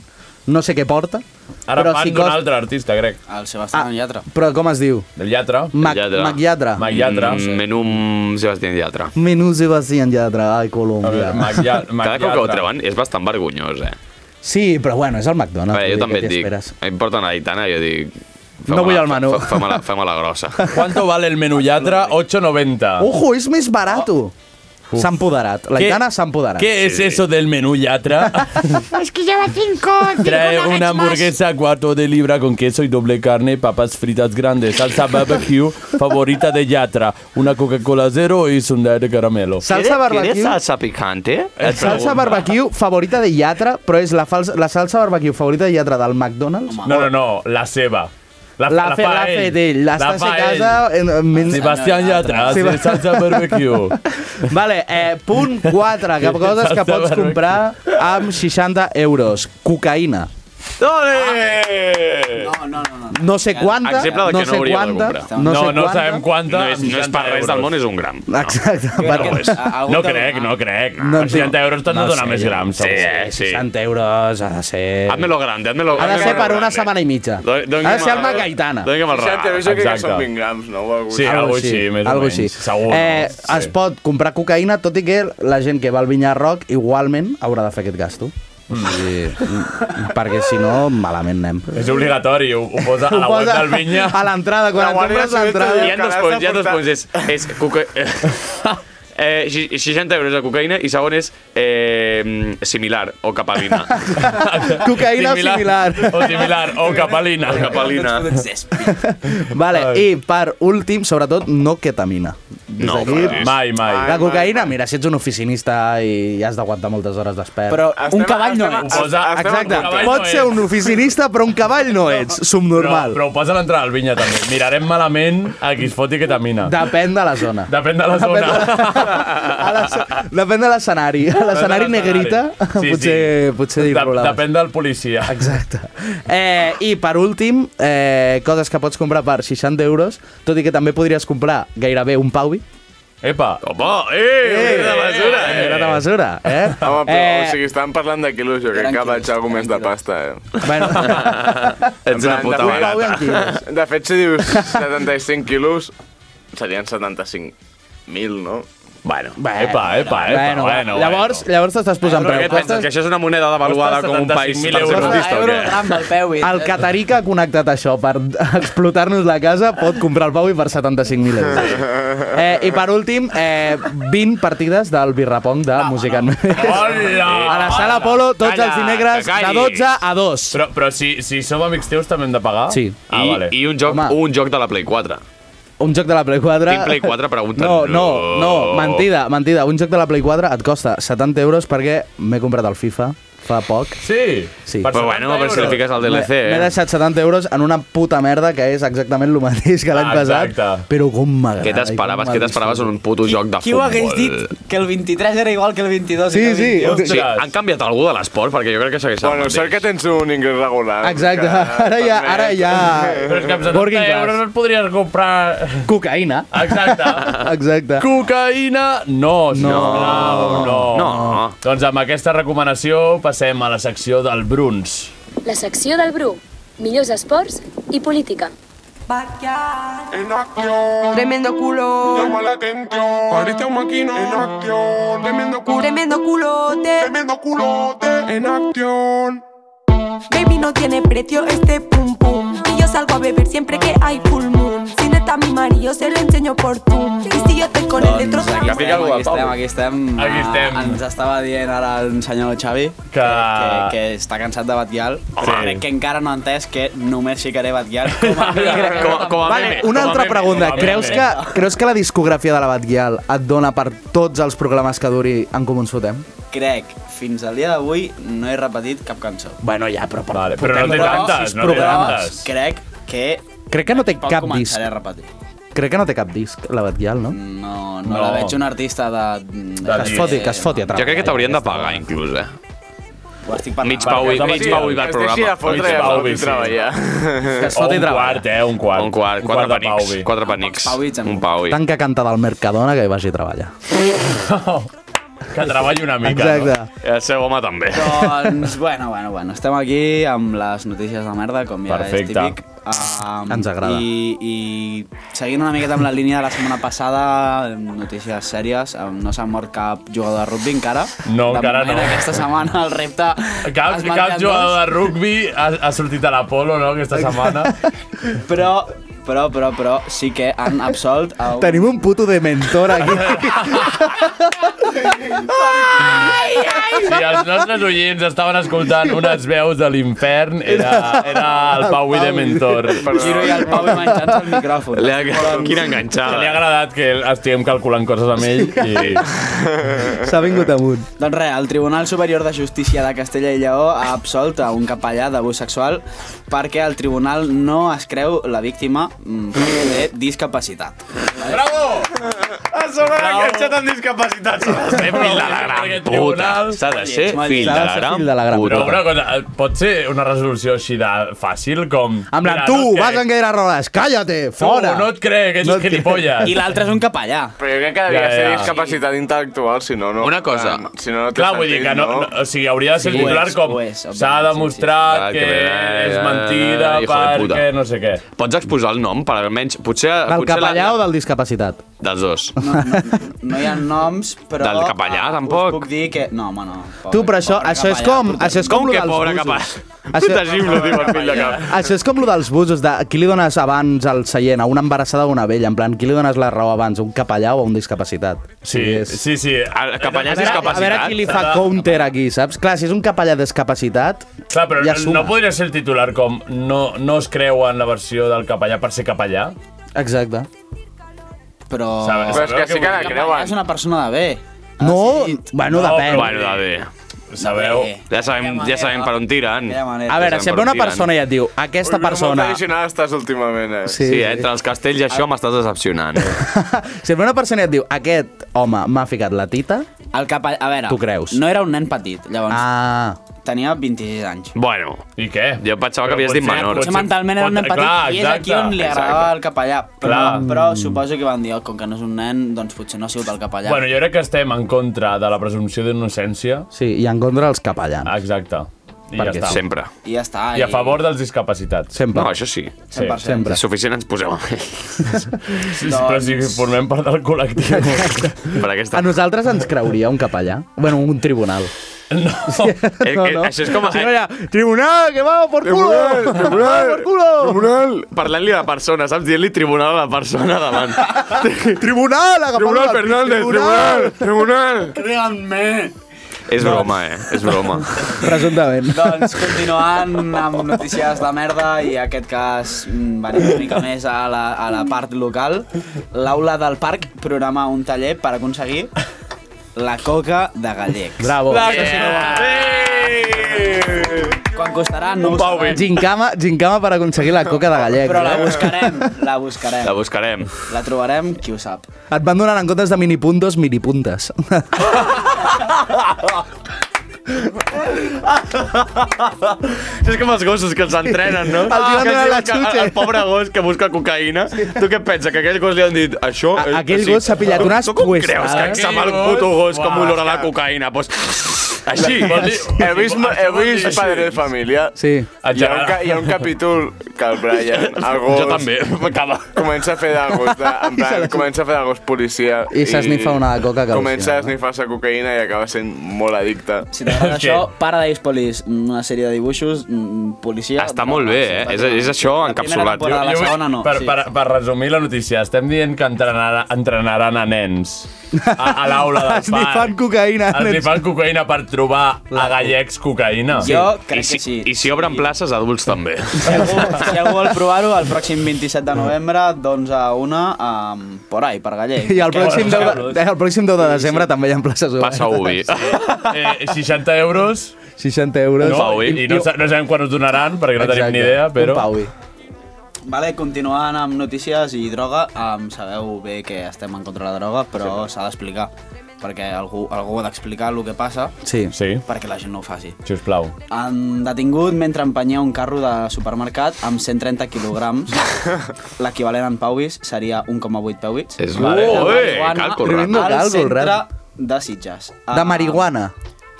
Speaker 8: No sé què porta.
Speaker 3: Ara
Speaker 8: però
Speaker 3: fan
Speaker 8: si
Speaker 3: d'un
Speaker 8: costa-
Speaker 3: altre artista, crec.
Speaker 11: El Sebastián ah. Llatra.
Speaker 8: Però com es diu?
Speaker 3: Del Llatra.
Speaker 8: Mac- Mac-Llatra.
Speaker 3: Mac-Llatra.
Speaker 10: Mm, menú amb Sebastián Llatra.
Speaker 8: Ah. Menú Sebastián Llatra. Ai, Colòmbia. Ah.
Speaker 10: (laughs) Cada cop que ho treuen és bastant vergonyós, eh?
Speaker 8: Sí, però bueno, és el McDonald's.
Speaker 10: A veure, jo
Speaker 8: vull dir,
Speaker 10: també
Speaker 8: què
Speaker 10: et dic,
Speaker 8: esperes?
Speaker 10: em porten a l'Aitana i jo dic...
Speaker 8: No vull el menú.
Speaker 10: Fem-me-la fem la grossa.
Speaker 3: (laughs) ¿Cuánto vale el menú Llatra? 8,90.
Speaker 8: (laughs) Ojo, és més barato. S'ha empoderat. La Itana s'ha empoderat.
Speaker 3: ¿Qué es eso del menú
Speaker 10: (laughs)
Speaker 3: Yatra?
Speaker 13: Es que lleva
Speaker 3: (laughs)
Speaker 13: cinco. cinco
Speaker 3: Trae
Speaker 13: nuggets
Speaker 3: una
Speaker 13: más.
Speaker 3: hamburguesa cuarto de libra con queso y doble carne, papas fritas grandes, salsa barbecue favorita de Yatra, una Coca-Cola cero y sundae de caramelo.
Speaker 8: Salsa barbecue.
Speaker 10: salsa picante?
Speaker 8: Salsa barbecue favorita de Llatra, però és la, fals, la salsa barbecue favorita de Llatra del McDonald's.
Speaker 3: No, no, no, la ceba. La,
Speaker 8: L'ha fet, l'ha fet ell. L'estàs a casa... En, Ah, en, en,
Speaker 3: Sebastián Yatra,
Speaker 8: Seba-
Speaker 3: hace (laughs) salsa barbecue.
Speaker 8: Vale, eh, punt 4, que coses que
Speaker 3: Salsa
Speaker 8: pots
Speaker 3: barbecue.
Speaker 8: comprar amb 60 euros. Cocaïna.
Speaker 10: Dale!
Speaker 11: No, no, no. no.
Speaker 8: no sé quanta,
Speaker 10: Exemple de que
Speaker 8: no
Speaker 10: no,
Speaker 8: sé
Speaker 10: hauríem de
Speaker 8: quanta,
Speaker 10: comprar.
Speaker 8: no sé quanta.
Speaker 10: No és, no és per res del món, és un gram.
Speaker 8: (laughs) Exacte.
Speaker 10: No,
Speaker 8: per-
Speaker 10: no, és. no crec, no crec.
Speaker 8: Ah. No,
Speaker 10: No, 60 euros tot no,
Speaker 8: no
Speaker 10: dona
Speaker 8: sé, eh,
Speaker 10: més
Speaker 8: jo
Speaker 10: grams.
Speaker 8: no sé,
Speaker 10: sí,
Speaker 8: 60 euros ha de ser...
Speaker 10: Hazme-lo grande, hazme-lo
Speaker 8: Ha de ser per
Speaker 10: grande.
Speaker 8: una setmana i mitja.
Speaker 10: Do- doni'm
Speaker 8: Ha de ser
Speaker 10: el-
Speaker 8: el Macaitana.
Speaker 10: doni'm el ram.
Speaker 9: 60 euros jo crec que
Speaker 10: Exacte.
Speaker 9: són 20 grams, no? O alguna
Speaker 10: Sí,
Speaker 9: cosa
Speaker 10: algo així, més o
Speaker 8: algo
Speaker 10: menys.
Speaker 8: així.
Speaker 10: Segur,
Speaker 8: eh,
Speaker 10: no?
Speaker 8: Es
Speaker 10: Sí.
Speaker 8: pot comprar cocaïna, tot i que la gent que va al Vinyar Roc igualment haurà de fer aquest gasto. O sigui, mm, perquè si no, malament anem.
Speaker 3: És obligatori, ho, ho posa a la
Speaker 8: (laughs) Ho
Speaker 3: web
Speaker 8: posa
Speaker 3: del Vinya.
Speaker 8: a l'entrada, quan La et Guàrdia compres Civil l'entrada. t'ha
Speaker 10: Hi
Speaker 8: dit
Speaker 10: ha
Speaker 8: que
Speaker 10: dos
Speaker 8: l'has
Speaker 10: punts,
Speaker 8: de
Speaker 10: hi ha dos
Speaker 8: portar.
Speaker 10: punts. És, és
Speaker 8: (laughs)
Speaker 10: coca... Eh, eh, xi- 60 euros de cocaïna i segon és eh, similar o capalina.
Speaker 8: (laughs) Cocaïna similar.
Speaker 10: O similar o capalina. O capalina.
Speaker 8: Vale, i per últim, sobretot, no ketamina. Des
Speaker 10: No,
Speaker 8: d'aquí-
Speaker 10: clar, és- Mai, mai.
Speaker 8: La
Speaker 10: Mai,
Speaker 8: cocaïna, mira, si ets un oficinista i has d'aguantar moltes hores despert.
Speaker 10: Però Estem- un cavall no estem- ets.
Speaker 8: ets.
Speaker 10: estem- estem
Speaker 8: Exacte,
Speaker 10: en compte.
Speaker 8: pots ser un oficinista, però un cavall no ets, subnormal.
Speaker 3: Però, però ho posa a l'entrada al Vinya, també. Mirarem malament a qui es foti ketamina.
Speaker 8: Depèn de la zona.
Speaker 3: Depèn de la
Speaker 8: Depèn
Speaker 3: zona.
Speaker 8: Depèn de l'escenari. A l'escenari negrita,
Speaker 3: Sí,
Speaker 8: potser,
Speaker 3: sí.
Speaker 8: potser hi
Speaker 3: De-
Speaker 8: problemes.
Speaker 3: Depèn del policia.
Speaker 8: Exacte. Eh, I per últim, eh, coses que pots comprar per 60 euros, tot i que també podries comprar gairebé un pauvi.
Speaker 3: Epa!
Speaker 10: Opa, eh,
Speaker 9: eh, eh, mesura, eh.
Speaker 8: Era de mesura, eh?
Speaker 9: Home, però,
Speaker 8: Eh,
Speaker 9: o sigui, estàvem parlant de quilos, jo crec que vaig algú més de pasta, eh?
Speaker 8: Bueno.
Speaker 10: Ets una puta
Speaker 9: barata.
Speaker 10: barata.
Speaker 9: (laughs) De fet, si dius 75 quilos, serien 75.000, no?
Speaker 10: Bueno,
Speaker 3: epa, epa, epa, bueno, bueno,
Speaker 8: Llavors, llavors t'estàs posant
Speaker 10: Però
Speaker 8: preu.
Speaker 10: què et penses, que això és una moneda devaluada com un país per ser budista o què?
Speaker 14: el peu i...
Speaker 11: eh,
Speaker 8: El catarí que ha connectat això per explotar-nos la casa pot comprar el Pau i per 75.000 euros. Eh, I per últim, eh, 20 partides del Birrapong de Música en A la sala Apolo, tots els dimecres, de 12 a 2.
Speaker 3: Però, però si, si som amics teus també hem de pagar?
Speaker 8: Sí.
Speaker 3: Ah,
Speaker 10: I,
Speaker 3: vale.
Speaker 10: I un joc,
Speaker 8: Home.
Speaker 10: un joc de la Play 4.
Speaker 8: Un joc de la Play 4...
Speaker 10: Tinc Play 4, pregunta.
Speaker 8: No, no, no, mentida, mentida. Un joc de la Play 4 et costa 70 euros perquè m'he comprat el FIFA fa poc.
Speaker 3: Sí?
Speaker 8: Sí.
Speaker 10: Però bueno, però si li fiques al DLC,
Speaker 8: M'he- M'he
Speaker 10: eh?
Speaker 8: deixat 70 euros en una puta merda que és exactament el mateix que l'any
Speaker 10: Ah,
Speaker 8: passat.
Speaker 10: exacte.
Speaker 8: Però com m'agrada.
Speaker 10: Què t'esperaves? Què t'esperaves en un puto joc de
Speaker 14: Qui ho hagués
Speaker 10: futbol?
Speaker 14: dit que el 23 era igual que el 22 i que el 21?
Speaker 10: Sí, han canviat algú de l'esport? Perquè jo crec que segueix
Speaker 9: Bueno, sort que tens un ingrés regular.
Speaker 8: (laughs) Exacte, ara ja... Ara ja...
Speaker 3: Però és que amb 70
Speaker 8: Working class.
Speaker 3: euros et podries
Speaker 8: (laughs)
Speaker 3: comprar...
Speaker 8: Cocaïna.
Speaker 3: Exacte.
Speaker 8: (laughs) Exacte.
Speaker 3: Cocaïna, no, sisplau, no.
Speaker 10: No.
Speaker 3: Doncs amb aquesta recomanació passem a la secció del Bruns.
Speaker 6: La secció del Bru. Millors esports i política.
Speaker 12: En acción. Tremendo culo. Llama la atención. Ahorita un maquino. En acción. Tremendo culo. Tremendo culote. Tremendo culote. En acción.
Speaker 15: Baby no tiene precio este pum pum Y yo salgo a beber siempre que hay full moon Si neta mi marido se lo enseño por Zoom Y si yo estoy con el otro
Speaker 11: Aquí estem,
Speaker 15: algo
Speaker 11: aquí estem, aquí estem.
Speaker 3: Aquí estem.
Speaker 11: Ah, Ens estava dient ara el senyor Xavi que, que,
Speaker 3: Ah.
Speaker 11: que està cansat de
Speaker 3: (laughs)
Speaker 11: Batguial, però
Speaker 10: Sí.
Speaker 11: crec que encara no ha entès que només ficaré Batguial com a, com,
Speaker 10: com a
Speaker 8: Vale, una altra pregunta. Creus que, creus que la discografia de la Batguial et dona per tots els programes que duri en Comú ens fotem?
Speaker 11: Crec, fins al dia d'avui no he repetit cap cançó.
Speaker 8: Bueno, ja, però...
Speaker 3: Vale, però no té tantes, no té tantes.
Speaker 11: Crec que...
Speaker 8: Crec que no té
Speaker 11: tampoc
Speaker 8: cap
Speaker 11: començaré
Speaker 8: disc.
Speaker 11: a repetir.
Speaker 8: Crec que no té cap disc, la Batguial, no?
Speaker 11: No, no, no, la veig un artista de...
Speaker 8: Que es foti, que es foti a
Speaker 10: Jo crec
Speaker 8: treballar.
Speaker 10: que t'haurien de pagar, inclús, eh?
Speaker 11: Ho estic
Speaker 10: Mig pau
Speaker 3: doncs
Speaker 10: i, mig pau i del programa.
Speaker 9: fotre i a foti treballar.
Speaker 10: Que
Speaker 9: es foti treballar.
Speaker 3: eh? Un quart.
Speaker 10: Un quart.
Speaker 9: quart
Speaker 10: Quatre
Speaker 9: de
Speaker 10: penics.
Speaker 9: pauvi.
Speaker 10: Quatre penics. Un pauvi.
Speaker 8: Tant que canta del Mercadona que hi vagi a treballar.
Speaker 3: Que treballi una
Speaker 10: Ah,
Speaker 3: mica.
Speaker 8: Exacte.
Speaker 10: No? I El seu home també.
Speaker 11: Doncs, bueno, bueno, bueno, estem aquí amb les notícies de merda, com ja
Speaker 10: Perfecte.
Speaker 11: és típic. Um,
Speaker 10: Ens agrada.
Speaker 11: I, I seguint una miqueta amb la línia de la setmana passada, notícies sèries, um, no s'ha mort cap jugador de rugby encara.
Speaker 3: No,
Speaker 11: de
Speaker 3: encara
Speaker 11: moment,
Speaker 3: no.
Speaker 11: Aquesta setmana el repte...
Speaker 3: Cap,
Speaker 11: es mantenen
Speaker 3: cap jugador
Speaker 11: dos.
Speaker 3: de rugbi ha, ha sortit a l'Apolo, no?, aquesta setmana.
Speaker 11: Però, però, però, però, sí que han absolt... A un...
Speaker 8: Tenim un puto de mentor aquí.
Speaker 10: (laughs)
Speaker 13: Ai, ai!
Speaker 3: Si els nostres oients estaven escoltant unes veus de l'infern, era, era el Pau i de Mentor.
Speaker 11: Giro i el Pau i menjant el micròfon.
Speaker 10: Li ha... Quina enganxada.
Speaker 3: Li ha agradat que estiguem calculant coses amb ell i...
Speaker 8: S'ha vingut amunt.
Speaker 11: Doncs res, el Tribunal Superior de Justícia de Castella i Lleó ha absolt a un capellà d'abús sexual perquè el tribunal no es creu la víctima mm, perquè té discapacitat.
Speaker 3: Bravo!
Speaker 10: A sobre la canxa tan discapacitats. S'ha de ser fill de la gran puta. S'ha de ser fill de la gran puta.
Speaker 3: Però una cosa, eh, pot ser una resolució així de fàcil com...
Speaker 8: En plan,
Speaker 3: Mira,
Speaker 8: tu,
Speaker 3: no et
Speaker 8: vas
Speaker 3: crec.
Speaker 8: en Gaire Rodas, cállate, fora!
Speaker 3: no et crec, ets
Speaker 8: et crec.
Speaker 3: gilipolles.
Speaker 11: I l'altre és un capellà.
Speaker 9: Però jo crec que devia
Speaker 3: Ja,
Speaker 9: ser
Speaker 3: ja.
Speaker 9: discapacitat intel·lectual, si no, no. Una cosa. Si no, no té
Speaker 3: Clar, vull
Speaker 9: sentit,
Speaker 3: dir que no, no, o sigui, hauria de ser
Speaker 9: Sí,
Speaker 3: sí, titular
Speaker 9: ho és,
Speaker 3: com
Speaker 9: ho és,
Speaker 3: s'ha demostrat
Speaker 10: sí, sí.
Speaker 3: que,
Speaker 10: Ah, que bé,
Speaker 3: és
Speaker 10: eh,
Speaker 3: mentida
Speaker 10: hijo de puta.
Speaker 3: perquè no sé què.
Speaker 10: Pots exposar el nom, per almenys... Potser,
Speaker 8: Del
Speaker 10: potser
Speaker 8: capellà o del discapacitat?
Speaker 10: Dels dos.
Speaker 11: No hi ha noms, però...
Speaker 10: Del capellà, tampoc.
Speaker 11: Us puc dir que... No, home, no. Pobre,
Speaker 8: Tu, però això,
Speaker 11: pobre
Speaker 8: això és
Speaker 11: capellà,
Speaker 8: com...
Speaker 11: puta.
Speaker 8: Això és com, lo dels busos. Això- Això és com lo dels busos, de qui li dones abans el seient, a una embarassada o a una vella, en plan, qui li dones la raó abans, a un capellà o a un discapacitat?
Speaker 3: Sí, sí, sí. El
Speaker 10: capellà és
Speaker 8: A veure qui li fa counter aquí, saps? Clar, si és un capellà discapacitat,
Speaker 3: Clar, però
Speaker 8: ja
Speaker 3: no
Speaker 8: suma.
Speaker 3: podria ser el titular com no, no es creu en la versió del capellà per ser capellà?
Speaker 8: Exacte.
Speaker 11: Però...
Speaker 8: Oh.
Speaker 3: Sabe- Però és sabeu que què sí que vull la dir? creuen.
Speaker 11: Capellà És una persona de bé.
Speaker 8: Ah, No, bueno, depèn.
Speaker 10: Bueno, de bé.
Speaker 3: Sabeu?
Speaker 10: Ja sabem, ja sabem per on tiren.
Speaker 8: A veure, si ve una persona i et diu, aquesta persona...
Speaker 9: Molt tradicional estàs últimament, eh?
Speaker 10: Sí, sí,
Speaker 8: (laughs)
Speaker 10: entre els castells i això m'estàs decepcionant.
Speaker 8: Si ve una persona i et diu, aquest home m'ha ficat la tita,
Speaker 11: El capellà... A veure,
Speaker 8: Tu creus?
Speaker 11: no era un nen petit, llavors.
Speaker 8: Ah.
Speaker 11: Tenia 26 anys.
Speaker 10: Bueno.
Speaker 3: I què?
Speaker 10: Jo pensava que havies dit menor.
Speaker 11: Potser mentalment era un nen petit i és aquí on li agradava el capellà. Però,
Speaker 3: Clar.
Speaker 11: però suposo que van dir, oh, com que no és un nen, doncs potser no ha sigut el capellà.
Speaker 3: Bueno, jo crec que estem en contra de la presumpció d'innocència.
Speaker 8: Sí, i en contra dels capellans.
Speaker 3: Exacte. I
Speaker 8: Perquè
Speaker 3: ja està.
Speaker 10: sempre.
Speaker 11: I ja està.
Speaker 3: I a favor dels discapacitats.
Speaker 8: Sempre.
Speaker 10: No, això sí.
Speaker 3: Sí. Sempre.
Speaker 10: Suficient ens poseu amb ell.
Speaker 3: Sí, sí,
Speaker 11: doncs.
Speaker 3: però si formem part del col·lectiu.
Speaker 10: (laughs) per aquesta...
Speaker 8: A nosaltres ens creuria un capellà? Bueno, un tribunal.
Speaker 11: Ah,
Speaker 10: Eh, eh, Això és com...
Speaker 8: Si no, ja, tribunal, que va, por culo!
Speaker 10: Tribunal,
Speaker 8: Va, (laughs) por culo!
Speaker 9: Tribunal!
Speaker 10: Parlant-li a la persona, saps? Dient-li tribunal a la persona
Speaker 11: (laughs)
Speaker 10: davant.
Speaker 8: Tribunal, agafant
Speaker 9: Tribunal Fernández, tribunal, tribunal.
Speaker 11: Créanme.
Speaker 10: és broma, eh? És broma.
Speaker 11: (laughs)
Speaker 8: Presumptament.
Speaker 11: Doncs continuant amb notícies de merda i aquest cas mm, venim una mica més a la, a la part local. L'aula del parc programa un taller per aconseguir la coca de gallecs.
Speaker 8: Bravo.
Speaker 9: Ah,
Speaker 8: La
Speaker 11: Això sí que ho va fer. Quan costarà no ho sabem,
Speaker 8: Gincama, gincama per aconseguir la coca de gallec. eh?
Speaker 11: però la buscarem, la buscarem.
Speaker 10: La buscarem.
Speaker 11: La trobarem, qui ho sap.
Speaker 8: Et van donant en comptes de minipuntos, minipuntes. (laughs)
Speaker 10: Això és com els gossos que els entrenen, no? Ah,
Speaker 8: Els hi van
Speaker 10: Que
Speaker 8: donar
Speaker 10: diuen
Speaker 8: la
Speaker 10: que
Speaker 8: xuche.
Speaker 10: El pobre gos que busca cocaïna. Tu què penses? Que aquell gos li han dit això...
Speaker 8: A-
Speaker 10: és-
Speaker 8: aquell gos s'ha pillat
Speaker 10: Tu-
Speaker 8: unes
Speaker 10: Tu com creus
Speaker 8: cuestades?
Speaker 10: que sap el
Speaker 8: Aquell
Speaker 10: puto
Speaker 8: gos,
Speaker 10: gos com
Speaker 8: uah,
Speaker 10: olora la cocaïna? Pues... Així.
Speaker 9: Vol dir- He vist, he vist Padre de Família.
Speaker 8: Sí.
Speaker 9: Hi ha, un, ca- hi ha un capítol que el Brian, el gos...
Speaker 10: Jo també,
Speaker 9: (laughs)
Speaker 10: m'acaba.
Speaker 9: Comença a fer de gos, de,
Speaker 8: (laughs)
Speaker 9: en
Speaker 8: I se
Speaker 9: plan,
Speaker 8: la-
Speaker 9: comença a fer de gos policia.
Speaker 8: I s'esnifa una coca que
Speaker 9: Comença
Speaker 8: al·lucina,
Speaker 9: a esnifar-se cocaïna i acaba sent molt addicte.
Speaker 11: Si t'agrada això, Paradise Police, una sèrie de dibuixos, mm, policia...
Speaker 10: Està molt bé, eh? És, és això encapsulat.
Speaker 11: temporada, la segona no,
Speaker 3: Per,
Speaker 11: sí.
Speaker 3: per, per resumir la notícia, estem dient que entrenarà, entrenaran a nens a, a l'aula
Speaker 10: (laughs)
Speaker 3: del parc.
Speaker 8: Esnifant cocaïna,
Speaker 3: Es li
Speaker 8: nens.
Speaker 3: fan cocaïna per trobar a gallecs cocaïna.
Speaker 10: I si, I si obren places, adults (laughs) també.
Speaker 11: Si algú vol provar-ho, el pròxim 27 de novembre, d'11 a 1, um, por ahí, per Gallec.
Speaker 8: I el pròxim 10 de, Eh, el pròxim 10 de desembre també hi ha places obertes.
Speaker 3: Eh, 60 euros.
Speaker 8: 60 euros.
Speaker 3: No, i, i no, sa- no sabem quan us donaran, perquè no tenim ni idea, però...
Speaker 8: Un pauvi.
Speaker 11: Vale, continuant amb notícies i droga, um, sabeu bé que estem en contra de la droga, però s'ha d'explicar, perquè algú, algú ha d'explicar el que passa
Speaker 8: Sí.
Speaker 3: sí.
Speaker 11: perquè la gent no ho faci.
Speaker 3: Sisplau.
Speaker 11: Han detingut mentre empenyia un carro de supermercat amb 130
Speaker 9: (laughs)
Speaker 11: quilograms. L'equivalent en pauvis seria 1,8 pauvis.
Speaker 10: És vale. Oh,
Speaker 11: De
Speaker 10: eh,
Speaker 11: marihuana
Speaker 10: càlcul ràpid.
Speaker 11: Al
Speaker 8: Càlcul
Speaker 11: centre
Speaker 8: ràpid.
Speaker 11: de Sitges.
Speaker 8: De marihuana.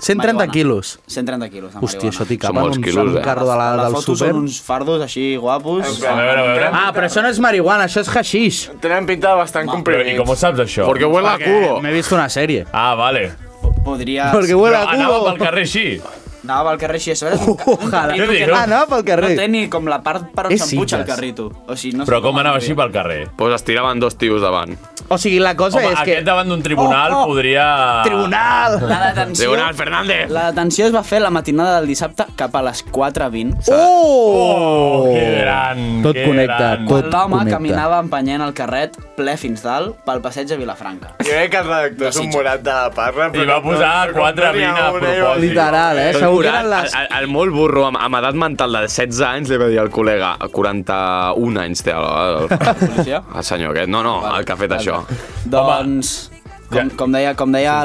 Speaker 8: 130
Speaker 11: Ah, Marihuana.
Speaker 8: quilos.
Speaker 11: 130 quilos de marihuana.
Speaker 8: Hòstia, això t'hi capen un, un
Speaker 10: eh?
Speaker 8: carro de la,
Speaker 11: A la
Speaker 8: del
Speaker 11: foto
Speaker 8: súper.
Speaker 11: són uns fardos així guapos. A
Speaker 3: veure, a veure.
Speaker 8: Ah, però això no és marihuana, això és haixix.
Speaker 11: Ah.
Speaker 9: Tenen pinta bastant
Speaker 11: Ma-
Speaker 3: Però, I com ho saps, això?
Speaker 10: Porque huele a culo.
Speaker 8: M'he vist una sèrie.
Speaker 3: Ah, vale.
Speaker 11: Podria...
Speaker 8: Perquè huele a
Speaker 3: Però
Speaker 8: culo.
Speaker 3: Anava pel carrer així.
Speaker 11: Anava pel carrer així, a
Speaker 8: (laughs)
Speaker 11: sobre. Ojalà.
Speaker 3: Què dius?
Speaker 8: Anava pel carrer.
Speaker 11: No té ni com la part per on
Speaker 8: És
Speaker 11: s'empuja el
Speaker 8: Sitges.
Speaker 11: carrito. O sigui, no
Speaker 10: Però
Speaker 11: sé
Speaker 10: com anava
Speaker 11: es diu.
Speaker 10: així
Speaker 3: pel carrer?
Speaker 10: Pues es tiraven dos tios davant.
Speaker 8: O sigui, la cosa
Speaker 3: Home,
Speaker 8: és que...
Speaker 3: aquest davant d'un tribunal
Speaker 11: Oh, oh.
Speaker 3: podria...
Speaker 8: Tribunal!
Speaker 11: La detenció...
Speaker 10: Tribunal Fernández.
Speaker 11: La detenció es va fer la matinada del dissabte cap a les 4.20.
Speaker 8: Oh!
Speaker 3: oh! Que gran!
Speaker 8: Tot
Speaker 11: que
Speaker 8: connecta,
Speaker 11: gran.
Speaker 8: tot
Speaker 11: L'home
Speaker 8: connecta.
Speaker 11: caminava empenyent el carret ple fins dalt pel passeig de Vilafranca.
Speaker 9: Jo crec que el redactor és un morat de la parra.
Speaker 3: I va posar quatre vint a propòsit.
Speaker 8: Literal, eh?
Speaker 3: Tot
Speaker 10: curat,
Speaker 14: eren les-
Speaker 10: el, el, molt burro, amb, amb edat mental de 16 anys, li va dir al col·lega, a 41 anys té el, el, el, el senyor aquest. No, no, el que ha fet això.
Speaker 11: Doncs, com, com deia, com deia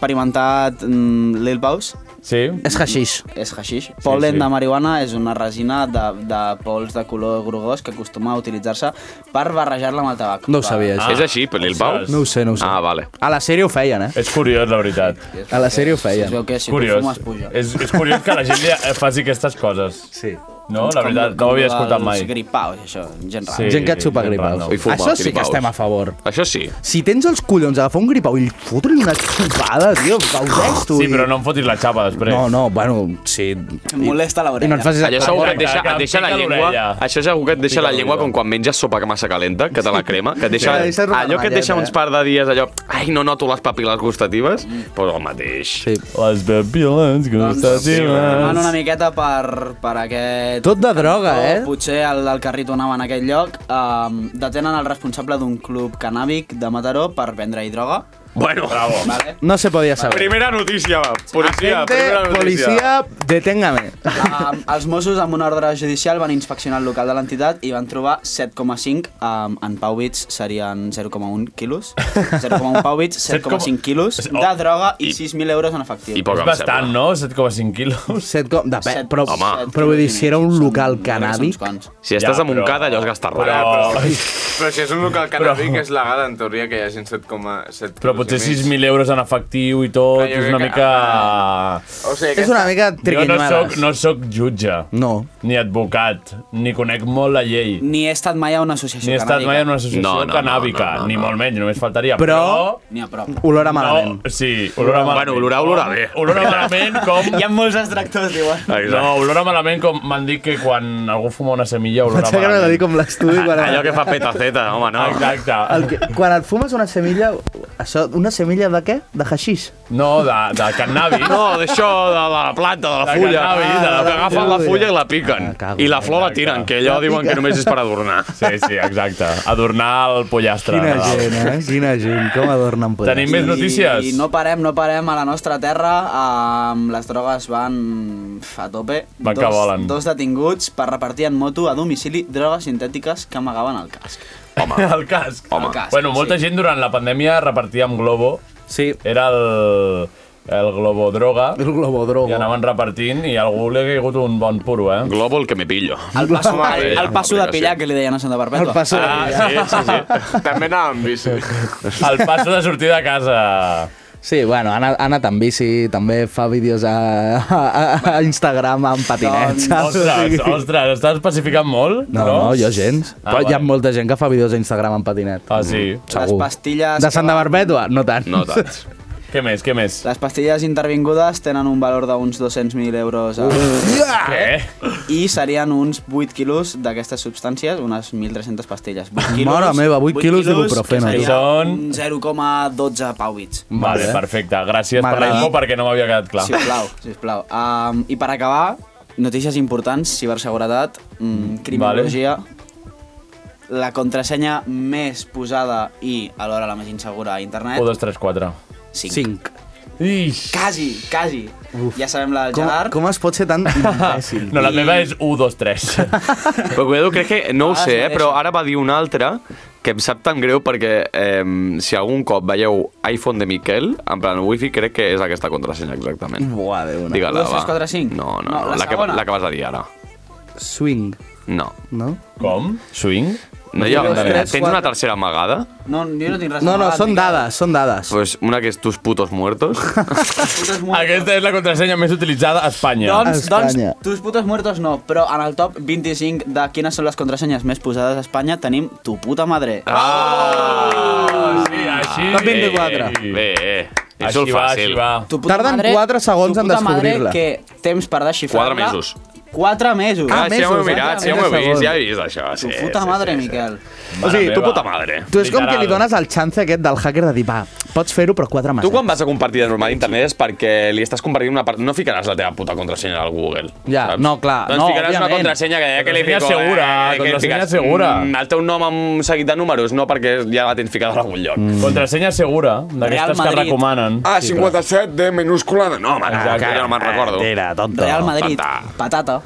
Speaker 11: l'experimentat mm, Lil Paus,
Speaker 3: Sí. Ah,
Speaker 8: És haixix.
Speaker 11: és haixix. Pol·len
Speaker 8: sí.
Speaker 11: de marihuana és una resina de, de pols de color grogós que acostuma a utilitzar-se per barrejar-la amb el tabac.
Speaker 8: No ho sabia, això.
Speaker 10: és així, Lil Pau?
Speaker 8: No ho sé, no ho sé.
Speaker 10: Ah, vale.
Speaker 8: A la sèrie ho feien, eh?
Speaker 3: És curiós, la veritat.
Speaker 8: A la sèrie ho
Speaker 11: Si es
Speaker 8: feien.
Speaker 11: veu que si
Speaker 3: curiós.
Speaker 11: tu fumes puja.
Speaker 3: És, és curiós que la gent li eh, faci aquestes coses. Sí. No, la veritat, no ho havia escoltat mai.
Speaker 11: Els gripaus, això, gent rara.
Speaker 8: Gent que et xupa gripaus. Això sí que estem a favor.
Speaker 10: Això sí.
Speaker 8: Si tens els collons d'agafar un gripau i fotre una xupada, tio, gaudeix, tu.
Speaker 3: Sí, però no em fotis la xapa després.
Speaker 8: No, no, bueno, sí.
Speaker 11: Em molesta l'orella.
Speaker 8: I no et facis
Speaker 10: Allò segur que et deixa, et deixa la
Speaker 3: Pica
Speaker 10: llengua,
Speaker 3: l'orella.
Speaker 10: això segur que et deixa la llengua com quan menges sopa que massa calenta, que te la crema, que et deixa,
Speaker 3: Sí, deixa robar
Speaker 10: allò que et
Speaker 3: la
Speaker 10: deixa
Speaker 3: galleta,
Speaker 10: uns
Speaker 3: eh?
Speaker 10: par de dies allò, ai, no noto les papil·les gustatives, però el mateix.
Speaker 8: Sí.
Speaker 3: Les
Speaker 11: Van
Speaker 3: papil·les
Speaker 11: una
Speaker 3: gustatives.
Speaker 11: miqueta per, per aquest...
Speaker 3: Tot de droga,
Speaker 11: cantó.
Speaker 3: eh?
Speaker 11: Potser el del carrit on anava en aquell lloc. Um, detenen el responsable d'un club canàbic de Mataró per vendre-hi droga.
Speaker 10: Bueno, bravo.
Speaker 11: Vale.
Speaker 8: No se podia saber.
Speaker 10: Primera notícia, va. Policia,
Speaker 8: Agente,
Speaker 10: primera notícia.
Speaker 8: policia, deténgame.
Speaker 11: Um, els Mossos, amb una ordre judicial, van inspeccionar el local de l'entitat i van trobar 7,5, um, en pàubits serien 0,1
Speaker 10: (laughs)
Speaker 11: quilos, 0,1 pàubits, 7,5 quilos
Speaker 10: Oh.
Speaker 11: de droga i 6.000 euros en efectiu.
Speaker 3: És bastant, no? 7,5 quilos.
Speaker 8: 7 com... De,
Speaker 11: Set-
Speaker 8: però,
Speaker 11: Home.
Speaker 8: però vull dir, si era un local canàbic...
Speaker 10: Si estàs a Montcada, allò es gasta
Speaker 3: però-
Speaker 10: ràpid.
Speaker 9: Però si és un local canàbic, és legal, en teoria, que hi hagi 7,7...
Speaker 3: Però potser 6.000 euros en efectiu i tot,
Speaker 9: Clar, jo
Speaker 3: és una
Speaker 9: crec que-
Speaker 3: mica...
Speaker 10: Ah.
Speaker 9: O sigui,
Speaker 8: És una mica
Speaker 3: Jo no
Speaker 8: triquinyuelas.
Speaker 3: soc, no soc jutge,
Speaker 8: no.
Speaker 3: ni advocat, ni conec molt la llei,
Speaker 11: Ni he estat mai a una associació
Speaker 3: ni he estat mai en una associació
Speaker 10: No, no, no,
Speaker 3: canàbica,
Speaker 10: no, no,
Speaker 3: ni molt menys, només faltaria.
Speaker 8: Però-
Speaker 11: Ni a prop.
Speaker 8: Olora malament.
Speaker 3: No, sí, olora
Speaker 10: Bueno,
Speaker 3: malament.
Speaker 10: olorar, olora bé.
Speaker 3: Olora malament
Speaker 10: (laughs)
Speaker 3: com...
Speaker 11: Hi ha molts extractors, diuen.
Speaker 3: No, olora malament com m'han dit que quan algú fuma una semilla olora
Speaker 8: Pensava que
Speaker 3: malament.
Speaker 8: m'ha de dir com l'estudi. Quan...
Speaker 10: Allò que fa petaceta, home, no.
Speaker 3: Exacte.
Speaker 8: El que, quan et fumes una semilla... Això, una semilla de què? De haixix.
Speaker 3: No, de, de cannabis.
Speaker 10: No, d'això, de la planta, de la
Speaker 3: De
Speaker 10: fulla. Ah,
Speaker 3: cannabis, de la
Speaker 10: que agafen la
Speaker 3: Ah, fulla.
Speaker 10: fulla i la
Speaker 8: Ah,
Speaker 10: piquen. I la flor la tiren, que allò
Speaker 3: La
Speaker 10: diuen que
Speaker 3: piquen.
Speaker 10: només és per adornar.
Speaker 3: Sí, sí, exacte. Adornar el pollastre.
Speaker 8: Quina
Speaker 3: Nadal.
Speaker 8: gent, eh? Quina gent. Com adornen poder.
Speaker 3: Tenim més notícies?
Speaker 11: I no parem, no parem a la nostra terra. Um, les drogues van a tope.
Speaker 3: Van que
Speaker 11: dos,
Speaker 3: volen.
Speaker 11: Dos detinguts per repartir en moto a domicili drogues sintètiques que amagaven al casc.
Speaker 10: Home.
Speaker 3: (laughs) El casc.
Speaker 10: Home.
Speaker 11: El casc,
Speaker 3: Bueno, molta
Speaker 11: sí.
Speaker 3: gent durant la pandèmia repartia amb globo.
Speaker 8: Sí.
Speaker 3: Era el, el globo droga.
Speaker 8: El globo droga.
Speaker 3: I anaven repartint i a algú li ha caigut un bon puro, eh? Ah,
Speaker 10: Globo el que me pillo.
Speaker 11: El
Speaker 8: (laughs)
Speaker 11: passo, el, el passo de
Speaker 10: aplicació.
Speaker 11: pillar que li deien a Santa Perpètua.
Speaker 8: El passo de Ah, pillar.
Speaker 10: sí, sí,
Speaker 9: sí. També anava amb bici.
Speaker 3: El passo de sortir de casa.
Speaker 8: Sí, bueno, ha anat, ha anat amb bici, també fa vídeos a, a, a- a Instagram
Speaker 11: Doncs,
Speaker 8: amb patinets. saps? O
Speaker 3: Ostres,
Speaker 8: sigui-
Speaker 3: ostres, estàs especificant molt?
Speaker 8: Ah, No, no, jo gens.
Speaker 3: Ah,
Speaker 8: Ah, Però hi ha
Speaker 3: vale.
Speaker 8: molta gent que fa vídeos a Instagram amb patinet.
Speaker 3: Ah, sí?
Speaker 8: Segur.
Speaker 11: Les pastilles
Speaker 8: De Santa Barbètua? No tant.
Speaker 10: No tant.
Speaker 8: (laughs)
Speaker 3: Què més, què més?
Speaker 11: Les pastilles intervingudes tenen un valor d'uns 200.000 euros a... Ah,
Speaker 3: Què?
Speaker 11: i serien uns 8 quilos d'aquestes substàncies, unes 1.300 pastilles. 8 quilos,
Speaker 8: Mare meva, 8 quilos
Speaker 11: que
Speaker 8: d'ibuprofeno.
Speaker 11: seria
Speaker 3: Són-
Speaker 11: un 0,12 pàubits.
Speaker 3: Vale,
Speaker 8: Vale.
Speaker 3: perfecte. Gràcies per la
Speaker 8: M'agrada.
Speaker 3: info perquè no m'havia quedat clar.
Speaker 11: Si us plau, si us plau. Um, I per acabar, notícies importants, ciberseguretat, mm, criminologia... La contrasenya més posada i alhora la més insegura a internet.
Speaker 3: 1, 2, 3, 4.
Speaker 8: 5.
Speaker 3: Ix.
Speaker 11: Quasi, quasi. Ja sabem la del
Speaker 8: Com,
Speaker 11: Gerard.
Speaker 8: com es pot ser
Speaker 11: (laughs)
Speaker 8: tan imbècil?
Speaker 3: No, la meva és 1, 2, 3.
Speaker 10: (laughs) Però cuidado, crec que, no ho
Speaker 11: Ah,
Speaker 10: sé, eh,
Speaker 11: sí,
Speaker 10: però ara va dir un altre que em sap tan greu perquè eh, si algun cop veieu iPhone de Miquel, en plan wifi, crec que és aquesta contrasenya exactament.
Speaker 8: Buah, Déu, no.
Speaker 10: Digue-la,
Speaker 11: Dos,
Speaker 10: va.
Speaker 11: tres, quatre, cinc?
Speaker 10: No, no,
Speaker 11: No,
Speaker 10: no,
Speaker 11: la
Speaker 10: la, que,
Speaker 11: segona.
Speaker 10: la que vas a dir ara.
Speaker 8: Swing,
Speaker 10: No.
Speaker 8: no?
Speaker 3: Com? Swing?
Speaker 10: No, hi ha,
Speaker 8: Dos, tres,
Speaker 10: tens una tercera amagada?
Speaker 11: No, jo no tinc res
Speaker 8: No, no,
Speaker 11: amagat,
Speaker 8: són
Speaker 11: ni
Speaker 8: dades, són dades.
Speaker 10: Pues una que és tus putos muertos.
Speaker 11: Putes muertos.
Speaker 3: Aquesta és la contrasenya més utilitzada a Espanya.
Speaker 8: Ah,
Speaker 11: Doncs, doncs,
Speaker 8: Espanya.
Speaker 11: tus putos muertos no, però en el top 25 de quines són les contrasenyes més posades a Espanya tenim tu puta madre. Ah.
Speaker 3: Ah, sí, així.
Speaker 8: Top 24.
Speaker 10: Bé, bé. És
Speaker 3: Així
Speaker 10: molt
Speaker 3: va, així
Speaker 10: fàcil.
Speaker 3: va.
Speaker 11: Tu
Speaker 8: Tarden quatre segons
Speaker 11: tu
Speaker 8: en
Speaker 11: puta madre,
Speaker 8: descobrir-la.
Speaker 11: que temps per desxifrar-la.
Speaker 10: Quatre mesos.
Speaker 11: 4 mesos.
Speaker 10: Ah, sí,
Speaker 8: mesos,
Speaker 10: ja m'ho he
Speaker 8: eh?
Speaker 10: mirat, sí, ja m'ho he
Speaker 8: Mira,
Speaker 10: vist,
Speaker 8: segon.
Speaker 10: ja he vist això. Sí,
Speaker 11: puta
Speaker 10: sí, sí,
Speaker 11: madre,
Speaker 10: sí.
Speaker 11: Miquel.
Speaker 10: O sigui,
Speaker 3: Mare
Speaker 10: tu
Speaker 3: meva.
Speaker 10: puta madre.
Speaker 8: Tu és com que
Speaker 3: Literal.
Speaker 8: li dones el xance aquest del hacker de dir, va,
Speaker 9: Pots fer-ho, però quadra massa.
Speaker 8: Tu quan vas a compartir de normal a internet és perquè li estàs compartint una part... No ficaràs la teva puta contrasenya al Google.
Speaker 9: Ja, no, clar.
Speaker 8: Doncs
Speaker 9: no,
Speaker 8: ficaràs una
Speaker 9: òbviament.
Speaker 8: contrasenya que, que li
Speaker 3: Contrasenya
Speaker 8: fico...
Speaker 3: segura,
Speaker 10: eh,
Speaker 8: que li
Speaker 3: contrasenya
Speaker 8: fiques,
Speaker 3: segura.
Speaker 8: mm, El teu nom amb un seguit de números, no perquè ja la tens ficada a algun lloc.
Speaker 3: Mm. Contrasenya segura, d'aquestes que recomanen.
Speaker 8: Ah,
Speaker 3: Sí, però-
Speaker 8: 57 de minúscula de... No, home,
Speaker 3: Exacte. Eh,
Speaker 8: que jo no me'n recordo.
Speaker 9: Era tonto.
Speaker 11: Real Madrid, patata.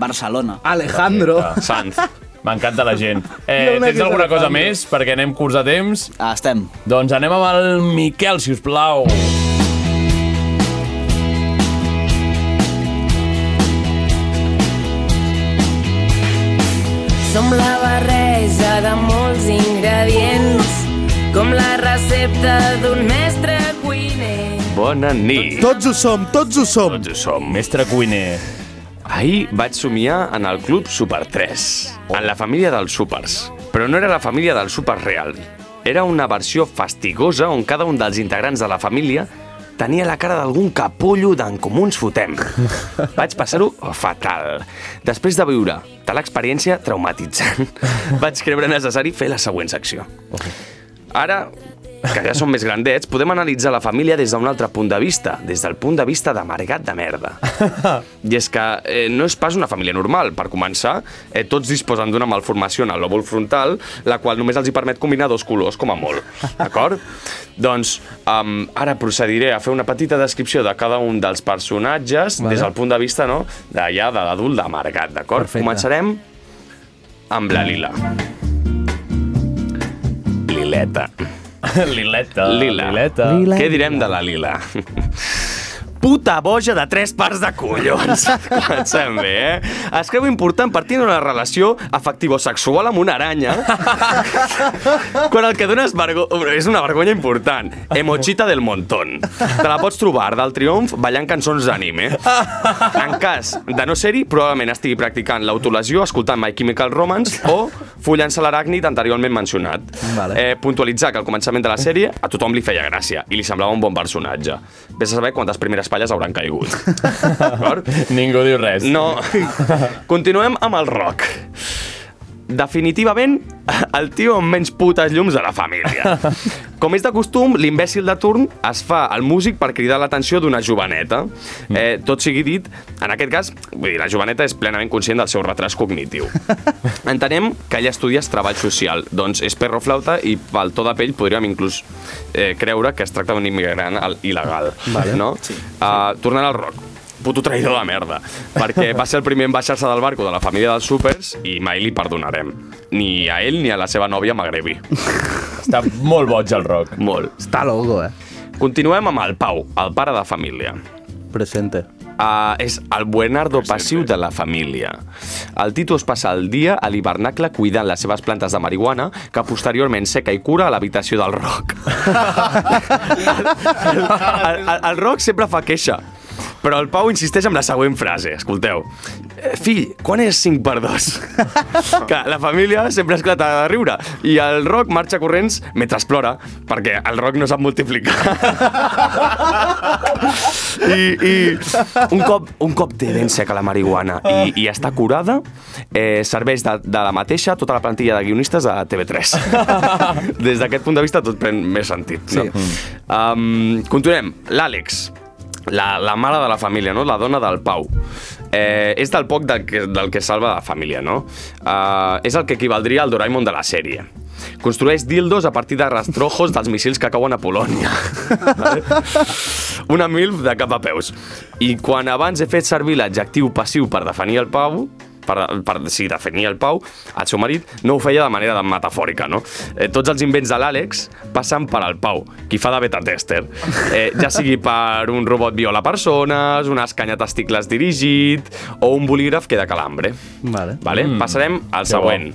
Speaker 11: Barcelona.
Speaker 8: Sanz.
Speaker 3: M'encanta la gent. Eh,
Speaker 11: Jo una
Speaker 3: tens
Speaker 11: que
Speaker 3: alguna
Speaker 11: se
Speaker 3: cosa
Speaker 11: la fan.
Speaker 3: més? Perquè anem curts de temps.
Speaker 11: Ah, estem.
Speaker 3: Doncs anem amb el Miquel, si us plau.
Speaker 16: Som la barreja de molts ingredients, com la recepta d'un mestre cuiner.
Speaker 8: Bona nit.
Speaker 9: Tots ho som, tots ho som.
Speaker 8: Tots ho som.
Speaker 3: Mestre cuiner.
Speaker 8: Ahir vaig somiar en el Club Super 3, en la família dels súpers. Però no era la família del súper real. Era una versió fastigosa on cada un dels integrants de la família tenia la cara d'algun capullo d'en comú ens fotem. Vaig passar-ho fatal. Després de viure tal experiència traumatitzant, vaig creure necessari fer la següent secció. Ara, que ja som més grandets, podem analitzar la família des d'un altre punt de vista, des del punt de vista d'amargat de merda. I és que eh, no és pas una família normal. Per començar, eh, tots disposen d'una malformació en el lòbul frontal, la qual només els hi permet combinar dos colors, com a molt. D'acord? doncs, um, ara procediré a fer una petita descripció de cada un dels personatges
Speaker 9: Vale.
Speaker 8: des del punt de vista no, d'allà, de l'adult d'amargat, d'acord?
Speaker 9: Perfecte.
Speaker 8: Començarem amb la Lila. Lileta.
Speaker 3: (laughs) Lileta.
Speaker 8: Lila.
Speaker 3: Lileta.
Speaker 8: Què direm de la Lila? Puta boja de tres parts de
Speaker 9: (laughs)
Speaker 8: collons. Comencem bé, eh? Es creu important partir d'una relació afectivo-sexual amb
Speaker 9: (laughs)
Speaker 8: una aranya quan el que dona és, vergo... és una vergonya important. Emochita del montón. Te la pots trobar del triomf ballant cançons d'anime. En cas de no ser-hi, probablement estigui practicant l'autolasió, escoltant My Chemical Romance o follant-se l'aràcnid anteriorment mencionat. Vale. Eh, puntualitzar que al començament de la sèrie a tothom li feia gràcia i li semblava un bon personatge. Vés a saber quantes primeres palles hauran caigut. D'acord?
Speaker 3: Ningú diu res.
Speaker 8: No. Continuem amb el rock. Definitivament, el tio amb menys putes llums de la família. Com és de costum, l'imbècil de turn es fa el músic per cridar l'atenció d'una joveneta. Eh, tot sigui dit, en aquest cas, vull dir, la joveneta és plenament conscient del seu retras cognitiu. Entenem que ella estudies treball social, doncs és perroflauta i pel to de pell podríem inclús eh, creure que es tracta d'un immigrant al- il·legal.
Speaker 17: Vale.
Speaker 8: No? Sí. Uh, tornant al rock, puto traïdor de merda, perquè va ser el primer en baixar-se del barco de la família dels súpers i mai li perdonarem. Ni a ell ni a la seva nòvia magrebi.
Speaker 3: Està molt boig el rock.
Speaker 8: Molt.
Speaker 9: Està logo, eh?
Speaker 8: Continuem amb el Pau, el pare de família.
Speaker 9: Presente.
Speaker 8: Uh, és el buenardo passiu de la família. El Tito es passa el dia a l'hivernacle cuidant les seves plantes de marihuana, que posteriorment seca i cura a l'habitació del Roc. el, el, el, el Roc sempre fa queixa, però el Pau insisteix amb la següent frase, escolteu. "Eh, Fill, quan és 5 per 2? que la família sempre esclata de riure i el Roc marxa corrents mentre plora, perquè el Roc no sap multiplicar. I, i un, cop, un cop té ben seca la marihuana i, i està curada, eh, serveix de, de la mateixa tota la plantilla de guionistes de TV3. Des d'aquest punt de vista tot pren més sentit. No? Sí. Um, continuem. L'Àlex. La, la mare de la família, no? la dona del Pau. Eh, és del poc del que, del que salva la família, no? Eh, és el que equivaldria al Doraemon de la sèrie. Construeix dildos a partir de rastrojos dels missils que cauen a Polònia. Una milf de cap a peus. I quan abans he fet servir l'adjectiu passiu per definir el Pau, per, per si definir el Pau, el seu marit no ho feia de manera metafòrica, no? Eh, tots els invents de l'Àlex passen per al Pau, qui fa de beta tester. Eh, ja sigui per un robot viola persones, un escanya testicles dirigit o un bolígraf que de calambre.
Speaker 9: Vale.
Speaker 8: Vale? Mm, Passarem al
Speaker 9: que bo.
Speaker 8: següent,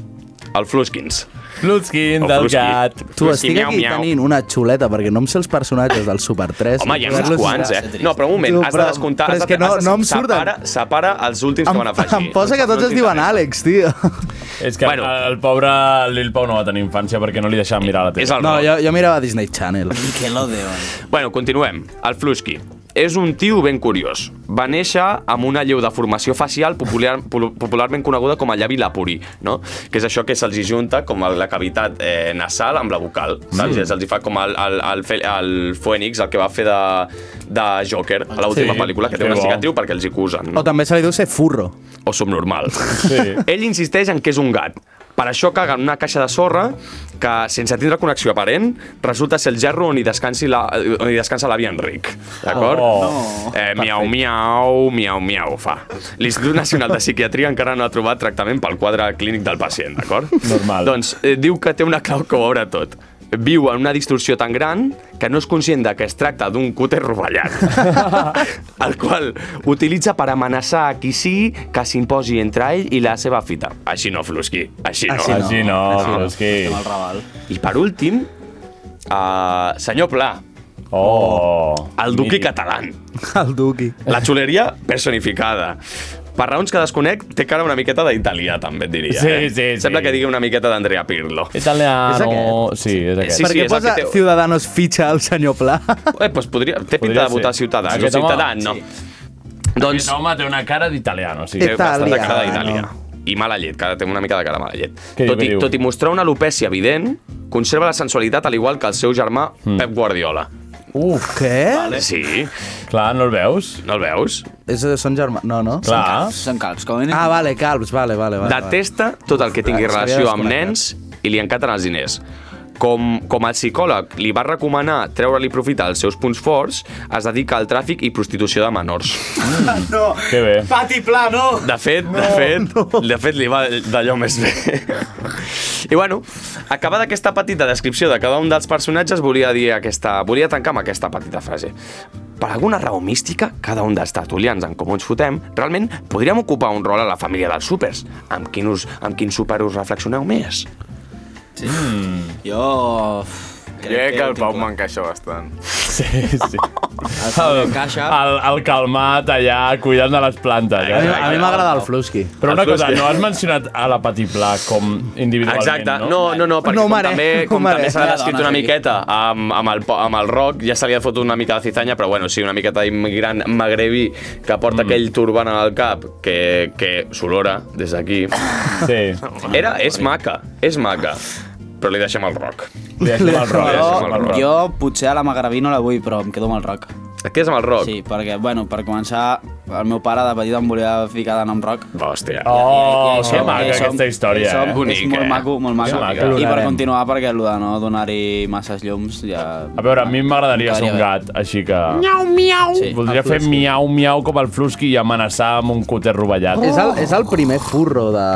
Speaker 8: el Fluskins.
Speaker 3: Fluskin
Speaker 8: O
Speaker 3: del
Speaker 8: Flusky.
Speaker 3: gat.
Speaker 9: Tu,
Speaker 8: Flusky,
Speaker 9: estic
Speaker 8: miau,
Speaker 9: aquí
Speaker 8: miau.
Speaker 9: tenint una xuleta, perquè no em sé els personatges del Super 3.
Speaker 8: Home, hi ha uns
Speaker 9: Poder-los-
Speaker 8: quants, eh? No, però un moment,
Speaker 9: Tu,
Speaker 8: has de
Speaker 9: però-
Speaker 8: descomptar...
Speaker 9: però és
Speaker 8: has de-
Speaker 9: que no-
Speaker 8: has de-
Speaker 9: no em surten.
Speaker 8: Separa, separa els últims que van afegir.
Speaker 9: Em posa que tots es diuen Àlex, tio.
Speaker 3: És que bueno. el pobre Lil Pau no va tenir infància perquè no li deixaven mirar la tele.
Speaker 8: És el
Speaker 9: No, jo, jo mirava Disney Channel.
Speaker 8: Nickelodeon. Bueno, continuem. El Fluski. és un tio ben curiós. Va néixer amb una lleu deformació facial popular, pol- popularment coneguda com a llavi lapuri, no? que és això que se'ls hi junta com a la cavitat eh, nasal amb la vocal.
Speaker 3: Sí.
Speaker 8: Saps? Sí. Se'ls hi fa com el, el, el, fe- el Phoenix, el que va fer de, de Joker a
Speaker 11: Sí,
Speaker 8: l'última sí, pel·lícula, que té
Speaker 11: que
Speaker 8: una
Speaker 11: bo.
Speaker 8: cicatriu perquè els hi acusen.
Speaker 11: O també se li diu ser furro.
Speaker 8: O subnormal. Sí. Ell insisteix en que és un gat. Per això caga en una caixa de sorra que, sense tindre connexió aparent, resulta ser el gerro on hi, descansi la, on hi descansa l'avi Enric. D'acord?
Speaker 3: Oh.
Speaker 8: eh, miau, miau, miau, miau, fa. L'Institut Nacional de Psiquiatria encara no ha trobat tractament pel quadre clínic del pacient, d'acord? Normal. Doncs eh, diu que té una clau que ho obre tot. Viu en una distorsió tan gran que no és conscient de que es tracta d'un cúter
Speaker 3: (laughs)
Speaker 8: rovellat el qual utilitza per amenaçar a qui sigui que s'imposi entre ell i la seva fita. Així no, Flusqui. Així no.
Speaker 3: Així no, Així no, així no. Flusqui. Estem al
Speaker 8: I per últim, uh, senyor Pla.
Speaker 3: Oh.
Speaker 8: El duqui català.
Speaker 3: (laughs)
Speaker 11: El Duki.
Speaker 8: La xuleria personificada. Per raons que desconec, té cara una miqueta d'italià, també et diria.
Speaker 3: Sí,
Speaker 8: eh?
Speaker 3: sí, sí.
Speaker 8: Sembla que digui una miqueta d'Andrea Pirlo.
Speaker 11: És
Speaker 3: Italiano...
Speaker 11: aquest?
Speaker 3: Sí, és aquest.
Speaker 11: Sí,
Speaker 8: Sí,
Speaker 11: per
Speaker 8: sí,
Speaker 11: què
Speaker 8: és el
Speaker 11: posa
Speaker 8: que té-
Speaker 11: Ciudadanos fitxa al senyor Pla?
Speaker 8: (laughs) Eh, doncs podria, té pinta
Speaker 3: Podria
Speaker 8: de votar
Speaker 3: ser.
Speaker 8: Ciutadans.
Speaker 3: Aquest
Speaker 8: Aquest
Speaker 3: home-
Speaker 8: Ciutadans, no. Doncs...
Speaker 3: Aquest home té una cara d'italiano, sí.
Speaker 8: Té bastanta cara d'Itàlia. I mala llet, que ara té una mica de cara mala llet.
Speaker 3: Què diu,
Speaker 8: Tot
Speaker 3: què
Speaker 8: i,
Speaker 3: diu?
Speaker 8: tot i mostrar una alopècia evident, conserva la sensualitat al igual que el seu germà
Speaker 3: Hmm.
Speaker 8: mm. Pep Guardiola.
Speaker 11: Uf, què?
Speaker 8: Vale. Sí.
Speaker 3: Clar, no el veus?
Speaker 8: No el veus?
Speaker 11: És, són germans... No, no?
Speaker 8: Clar. Són calbs,
Speaker 11: Són calbs, com Ah, vale, calbs, vale, vale. vale
Speaker 8: Detesta tot el que tingui
Speaker 11: Clar, s'havia
Speaker 8: relació amb
Speaker 11: desconnectat.
Speaker 8: nens i li encanten els diners. Com, com el psicòleg li va recomanar treure-li profit als seus punts forts, es dedica al tràfic i prostitució de menors.
Speaker 18: No.
Speaker 3: Que bé.
Speaker 18: Pati Pla, no.
Speaker 8: De fet, no, de fet, no. de fet li va d'allò més bé. I bueno, acabada aquesta petita descripció de cada un dels personatges, volia dir aquesta, volia tancar amb aquesta petita frase. Per alguna raó mística, cada un dels tertulians en com ens fotem, realment podríem ocupar un rol a la família dels súpers. Amb quin, us, amb quin súper us reflexioneu més?
Speaker 19: Sí. Jo...
Speaker 9: Jo crec que el Pau m'encaixa bastant.
Speaker 3: Sí, sí.
Speaker 9: Pau
Speaker 3: El, el, el calmat allà, cuidant de les plantes. eh?
Speaker 11: A mi- a mi m'agrada el Flusky.
Speaker 3: Però una
Speaker 11: El
Speaker 3: cosa,
Speaker 11: Flusky.
Speaker 3: no has mencionat a la Pati Pla com individualment,
Speaker 8: Exacte,
Speaker 3: no?
Speaker 8: no, no, no, perquè
Speaker 11: No
Speaker 8: com
Speaker 11: mare,
Speaker 8: també,
Speaker 11: (laughs) no
Speaker 8: com
Speaker 11: mare.
Speaker 8: també
Speaker 11: Hi
Speaker 8: s'ha
Speaker 11: ha
Speaker 8: descrit
Speaker 11: dones
Speaker 8: una
Speaker 11: aquí.
Speaker 8: miqueta amb, amb, el, po- amb el rock, ja se li ha fotut una mica de cizanya, però bueno, sí, una miqueta d'immigrant magrebi que porta mm. aquell turban al cap que, que s'olora des
Speaker 11: (laughs)
Speaker 8: d'aquí.
Speaker 3: Sí.
Speaker 8: Era, és maca, és maca, però li deixem el rock.
Speaker 3: Li
Speaker 8: deixem el
Speaker 3: eh?
Speaker 8: rock, li deixem el
Speaker 19: Jo,
Speaker 8: rock.
Speaker 19: jo potser a la Magraví no la vull, però em quedo amb el rock.
Speaker 8: Et quedes amb el rock?
Speaker 19: Sí, perquè, bueno, per començar, el meu pare de petit em volia ficar de nom rock.
Speaker 8: Hòstia.
Speaker 3: Oh,
Speaker 19: I- i- i
Speaker 3: que maca aquesta història,
Speaker 19: i som,
Speaker 3: eh?
Speaker 19: Bonic,
Speaker 3: Bonic,
Speaker 19: és molt
Speaker 3: eh?
Speaker 19: maco, molt
Speaker 3: Que
Speaker 19: maco.
Speaker 3: maco,
Speaker 19: I per
Speaker 3: l'honorem.
Speaker 19: continuar, perquè el de no donar-hi masses llums ja...
Speaker 3: A veure, a mi m'agradaria ser un
Speaker 19: M'agradaria
Speaker 3: gat, així que...
Speaker 20: Miau, miau.
Speaker 3: Sí, Voldria
Speaker 11: el
Speaker 3: fer
Speaker 11: Flusky.
Speaker 3: miau, miau com el Flusky i amenaçar amb un cúter rovellat.
Speaker 11: És el, és el primer furro de...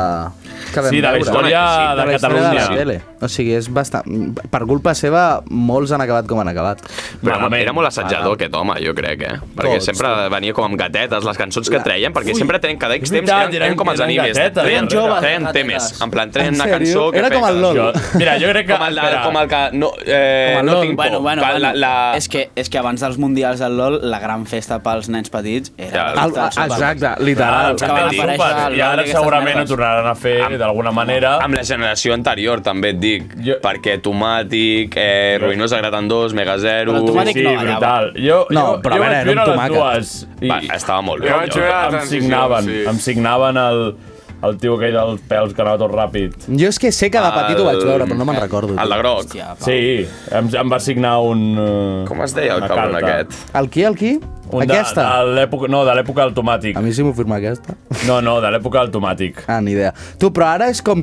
Speaker 11: Que vam
Speaker 3: Sí, de la
Speaker 11: veure.
Speaker 3: història
Speaker 11: Sí,
Speaker 3: de
Speaker 11: la història
Speaker 3: Catalunya.
Speaker 11: la tele. o sigui, és bastant... Per culpa seva, molts han acabat com han acabat.
Speaker 8: Però era, era molt
Speaker 19: Ah.
Speaker 8: assetjador aquest home, jo crec, eh? Perquè
Speaker 11: Tots,
Speaker 8: sempre venia com amb gatetes, les cançons que treien, perquè
Speaker 11: Ui.
Speaker 8: sempre tenen cada X
Speaker 11: És
Speaker 8: temps,
Speaker 11: veritat,
Speaker 8: eren, eren com els
Speaker 3: eren
Speaker 8: animes,
Speaker 3: gatetes,
Speaker 8: treien,
Speaker 3: eren joves,
Speaker 8: treien
Speaker 3: gatetes.
Speaker 8: temes, en plan, treien
Speaker 3: En
Speaker 8: una
Speaker 3: sèrio?
Speaker 8: cançó... Que
Speaker 3: Era com
Speaker 8: feia-
Speaker 3: el LOL. Jo- mira, jo crec que-
Speaker 8: Com el,
Speaker 3: espera.
Speaker 8: com el que... No, eh, no tinc por.
Speaker 19: bueno, bueno,
Speaker 8: que
Speaker 19: bueno.
Speaker 8: la, la...
Speaker 19: És, que, és que abans dels mundials del LOL, la gran festa pels nens petits era...
Speaker 3: Ja,
Speaker 19: el- el- el-
Speaker 11: exacte,
Speaker 3: Ara,
Speaker 19: Que van aparèixer al
Speaker 3: I
Speaker 19: LOL
Speaker 3: ara
Speaker 19: aquestes
Speaker 3: segurament ho
Speaker 19: merdes.
Speaker 3: tornaran a fer d'alguna manera.
Speaker 8: Amb la generació anterior, també et dic. Jo... Perquè Tomàtic, eh, Ruïnosa Gratan 2, Mega Zero...
Speaker 3: Però Tomàtic Sí, no ballava. brutal. Jo- No, jo- però jo a veure, vaig era un viure les tomàquet. I...
Speaker 8: Va, estava molt bé.
Speaker 3: Jo vaig veure em signaven, sí. em signaven el, el tio aquell dels peus que anava tot ràpid.
Speaker 11: Jo és que sé que de petit ho vaig veure, però no me'n recordo.
Speaker 8: El de groc.
Speaker 3: Sí, em, em va signar un... eh,
Speaker 8: Com es deia el cabron aquest?
Speaker 11: El qui, el qui?
Speaker 3: Un
Speaker 11: Aquesta?
Speaker 3: De, de l'època- no, de l'època del tomàtic. A
Speaker 11: mi sí m'ho firma aquesta.
Speaker 3: No, no, de l'època del tomàtic.
Speaker 11: Ah, ni idea. Tu, però ara és com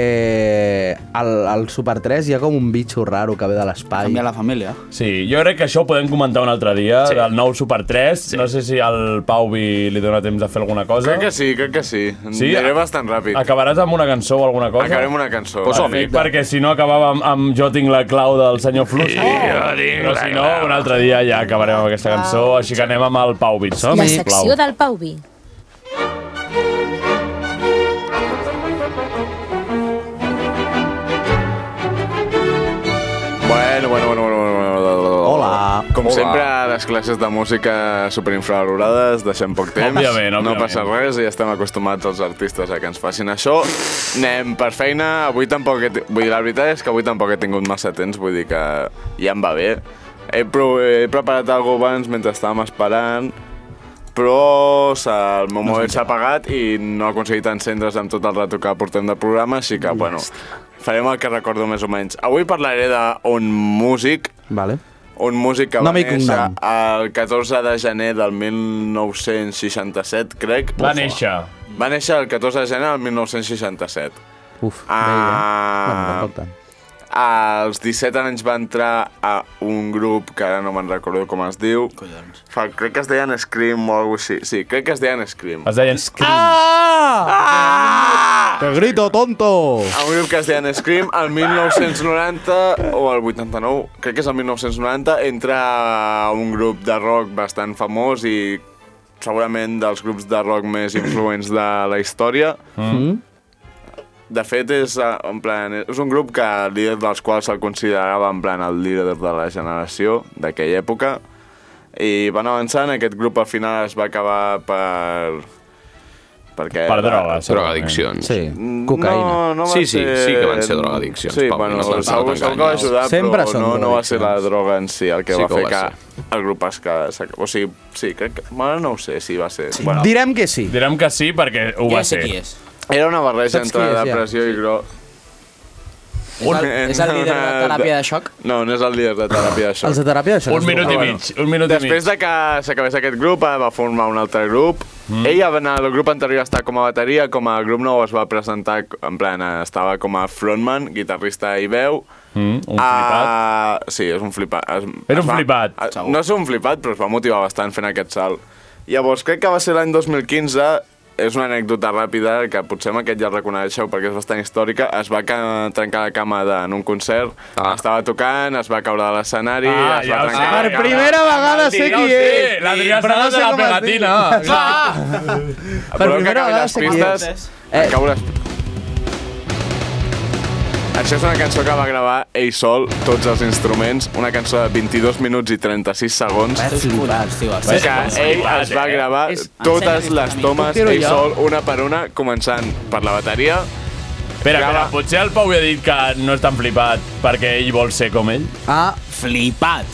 Speaker 11: que al, al Super 3 hi ha com un bitxo raro que ve de l'espai. Canvia
Speaker 19: la família.
Speaker 3: Sí, jo crec que això ho podem comentar un altre dia, sí. del nou Super 3. Sí. No sé si al Pauvi li dóna temps de fer alguna cosa.
Speaker 9: Crec que sí, crec que sí.
Speaker 3: Sí?
Speaker 9: sí Aniré bastant ràpid.
Speaker 3: Acabaràs amb una cançó o alguna cosa?
Speaker 9: Acabarem una cançó.
Speaker 3: Pues
Speaker 9: Perfecte.
Speaker 3: perquè si no acabava amb, amb Jo tinc la clau del senyor Flusky.
Speaker 8: Jo tinc
Speaker 3: Però
Speaker 8: la
Speaker 3: si no, un altre dia ja acabarem amb aquesta cançó, així que anem amb el Pau Bits.
Speaker 6: La secció del Pau Vi.
Speaker 9: Bueno, bueno, bueno, bueno, bueno, bueno.
Speaker 11: Hola.
Speaker 9: Com
Speaker 11: Hola.
Speaker 9: sempre, les classes de música superinfravalorades, deixem poc temps.
Speaker 3: Òbviament, òbviament.
Speaker 9: No passa res i ja estem acostumats els artistes a que ens facin això. Anem per feina. Avui tampoc he... ti- Vull dir, la veritat és que avui tampoc he tingut massa temps, vull dir que ja em va bé.
Speaker 8: He, pro he preparat alguna cosa abans mentre estàvem esperant, però s'ha- el meu mòbil s'ha apagat i no ha aconseguit encendre's amb tot el rato que portem de programa, així que, bueno, farem el que recordo més o menys. Avui parlaré d'un músic,
Speaker 11: Vale.
Speaker 8: un músic que
Speaker 11: Nom i
Speaker 8: va néixer
Speaker 11: cognom.
Speaker 8: el 14 de gener del 1967, crec.
Speaker 3: Va
Speaker 8: Ufa.
Speaker 3: néixer.
Speaker 8: Va néixer el 14 de gener del 1967.
Speaker 11: Uf,
Speaker 8: ah,
Speaker 11: Bueno, tant.
Speaker 8: als 17 anys va entrar a un grup que ara no me'n recordo com es diu. Collons. Fa, crec que es deien Scream o alguna cosa així. Sí, crec que es deien Scream.
Speaker 3: Es deien...
Speaker 6: Ah!
Speaker 11: Que grito, tonto!
Speaker 8: A un grup que es deien Scream, el 1990 o el 89, crec que és el 1990, entra a un grup de rock bastant famós i segurament dels grups de rock més influents de la història.
Speaker 11: Mm.
Speaker 8: De fet, és, eh, en plan, és un grup que el líder dels quals se'l considerava en plan el líder de la generació d'aquella època. I van avançant, aquest grup al final es va acabar per... Perquè
Speaker 9: Per drogues, Drogadiccions.
Speaker 11: Sí,
Speaker 8: Mm, No, no va
Speaker 9: sí, sí,
Speaker 8: ser...
Speaker 9: sí que van ser drogadiccions.
Speaker 8: Sí,
Speaker 9: Pau,
Speaker 8: bueno,
Speaker 9: no se'ns ha
Speaker 8: segur,
Speaker 9: d'enganyar.
Speaker 8: segur que va ajudar,
Speaker 9: Sempre
Speaker 8: però
Speaker 9: són
Speaker 8: no, no va ser la droga en si el que
Speaker 9: Sí
Speaker 8: va
Speaker 9: que ho
Speaker 8: fer
Speaker 9: va
Speaker 8: que el grup es quedés... O sigui, sí, crec que... Bueno, no ho sé si va ser... Sí. Bueno,
Speaker 11: Direm que sí.
Speaker 3: Direm que sí perquè ho va ser.
Speaker 8: Era una barreja
Speaker 3: Saps
Speaker 8: entre
Speaker 3: qui és, ja?
Speaker 8: depressió i gro...
Speaker 3: És el-
Speaker 8: Eh,
Speaker 3: és el líder de
Speaker 8: (laughs) una-
Speaker 3: teràpia de xoc?
Speaker 8: No, no és el líder de teràpia de xoc.
Speaker 11: Els de teràpia de xoc
Speaker 3: Un
Speaker 9: Ah,
Speaker 3: minut i
Speaker 8: Bueno,
Speaker 3: mig, un minut i mig.
Speaker 8: Després de que s'acabés aquest grup, eh, va formar un altre grup. Mm. Ella, en el grup anterior, estava com a bateria, com a grup nou es va presentar, en plan, eh, estava com a frontman, guitarrista i veu.
Speaker 3: Mm, un
Speaker 8: Ah, flipat. sí, és un flipat. Es,
Speaker 3: Era
Speaker 8: es
Speaker 3: un
Speaker 8: va-
Speaker 3: flipat.
Speaker 8: es- no és un flipat, però es va motivar bastant fent aquest salt. Llavors, crec que va ser l'any 2015, és una anècdota ràpida, que potser amb aquest ja el reconeixeu perquè és bastant històrica, es va ca- trencar la cama de, en un concert, ah. estava tocant, es va caure de l'escenari,
Speaker 3: Ah,
Speaker 8: es
Speaker 3: ja
Speaker 8: va
Speaker 3: ho sé.
Speaker 8: trencar...
Speaker 3: Per primera
Speaker 11: vegada sé qui és. Però
Speaker 3: L'Adrià estava
Speaker 11: no sé
Speaker 3: de la
Speaker 11: com es diu.
Speaker 3: pegatina.
Speaker 8: Clar!
Speaker 11: Per
Speaker 8: Voleu que
Speaker 11: primera
Speaker 8: acabi
Speaker 11: vegada
Speaker 8: les
Speaker 11: sé qui
Speaker 8: pistes?
Speaker 11: és.
Speaker 8: Eh. Acabo les... Això és una cançó que va gravar ell sol, tots els instruments, una cançó de 22 minuts i 36 segons.
Speaker 21: Vaig flipar, tio,
Speaker 8: Que
Speaker 21: vaig flipar.
Speaker 8: ell es va
Speaker 21: Eh?
Speaker 8: gravar
Speaker 21: És-
Speaker 8: totes
Speaker 21: ensenya'm
Speaker 8: les
Speaker 21: aquesta
Speaker 8: tomes,
Speaker 3: mica. Ho doncs, tiro
Speaker 8: ell
Speaker 3: jo.
Speaker 8: sol, una per una, començant per la bateria.
Speaker 3: Espera, espera, potser el Pau ja ha dit que no és tan flipat perquè ell vol ser com ell.
Speaker 8: Ah, flipat!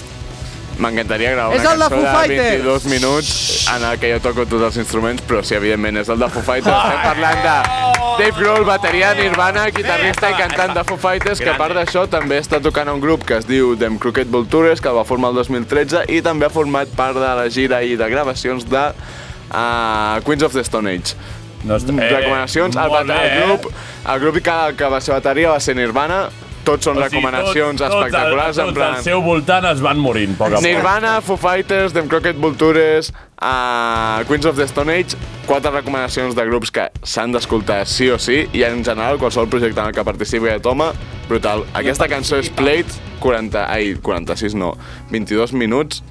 Speaker 8: M'encantaria gravar
Speaker 3: És
Speaker 8: una
Speaker 3: el de
Speaker 8: cançó
Speaker 3: Foo
Speaker 8: de,
Speaker 3: Fighters.
Speaker 8: 22 minuts en el que jo toco tots els instruments, però sí, evidentment, és el de Foo Fighters. Estem parlant de Dave Grohl, bateria de Nirvana, guitarrista i cantant de Foo Fighters, que a part d'això també està tocant un grup que es diu Them Crooked Vultures, que el va formar el 2013 i també ha format part de la gira i de gravacions de uh, Queens of the Stone Age. No
Speaker 3: està- eh,
Speaker 8: Mm, recomanacions, el,
Speaker 3: molt
Speaker 8: bata-
Speaker 3: bé, eh?
Speaker 8: el grup, el grup que, que va ser bateria va ser Nirvana, tots són
Speaker 3: O sigui,
Speaker 8: recomanacions
Speaker 3: tot- tot el-
Speaker 8: espectaculars, en plan...
Speaker 3: Tots al seu voltant es van morint, poc a poc.
Speaker 8: Nirvana, Foo Fighters, Them Crooked Vultures, uh, Queens of the Stone Age, quatre recomanacions de grups que s'han d'escoltar sí o sí, i en general qualsevol projecte en el que participi de Toma, brutal. Aquesta cançó és Plate, 40, ai, 46 no, 22 minuts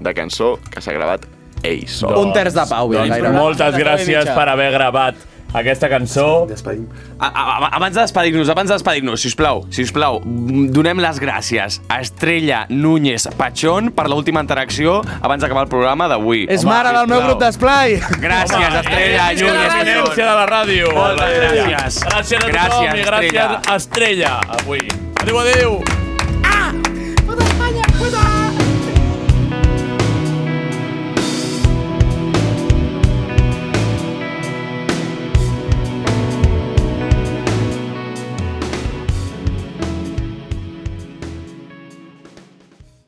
Speaker 8: de cançó que s'ha gravat ell sol.
Speaker 11: Un terç de pau, ja,
Speaker 3: Doncs
Speaker 11: gairebé.
Speaker 3: moltes gràcies per haver gravat aquesta cançó.
Speaker 9: A- a- a- Abans de despedir-nos, abans de despedir-nos, sisplau, sisplau, mm, donem les gràcies a Estrella Núñez Pachón per l'última interacció abans d'acabar el programa d'avui.
Speaker 11: És
Speaker 9: Home,
Speaker 11: mare del meu
Speaker 9: sisplau.
Speaker 11: grup d'esplai.
Speaker 9: Gràcies, Estrella
Speaker 3: eh, és
Speaker 9: Núñez
Speaker 3: la
Speaker 9: Pachón.
Speaker 3: eminència de la ràdio.
Speaker 9: Moltes gràcies.
Speaker 3: Gràcies a tothom
Speaker 9: Gràcies,
Speaker 3: i gràcies,
Speaker 9: Estrella.
Speaker 3: Estrella, avui. Adéu, adéu.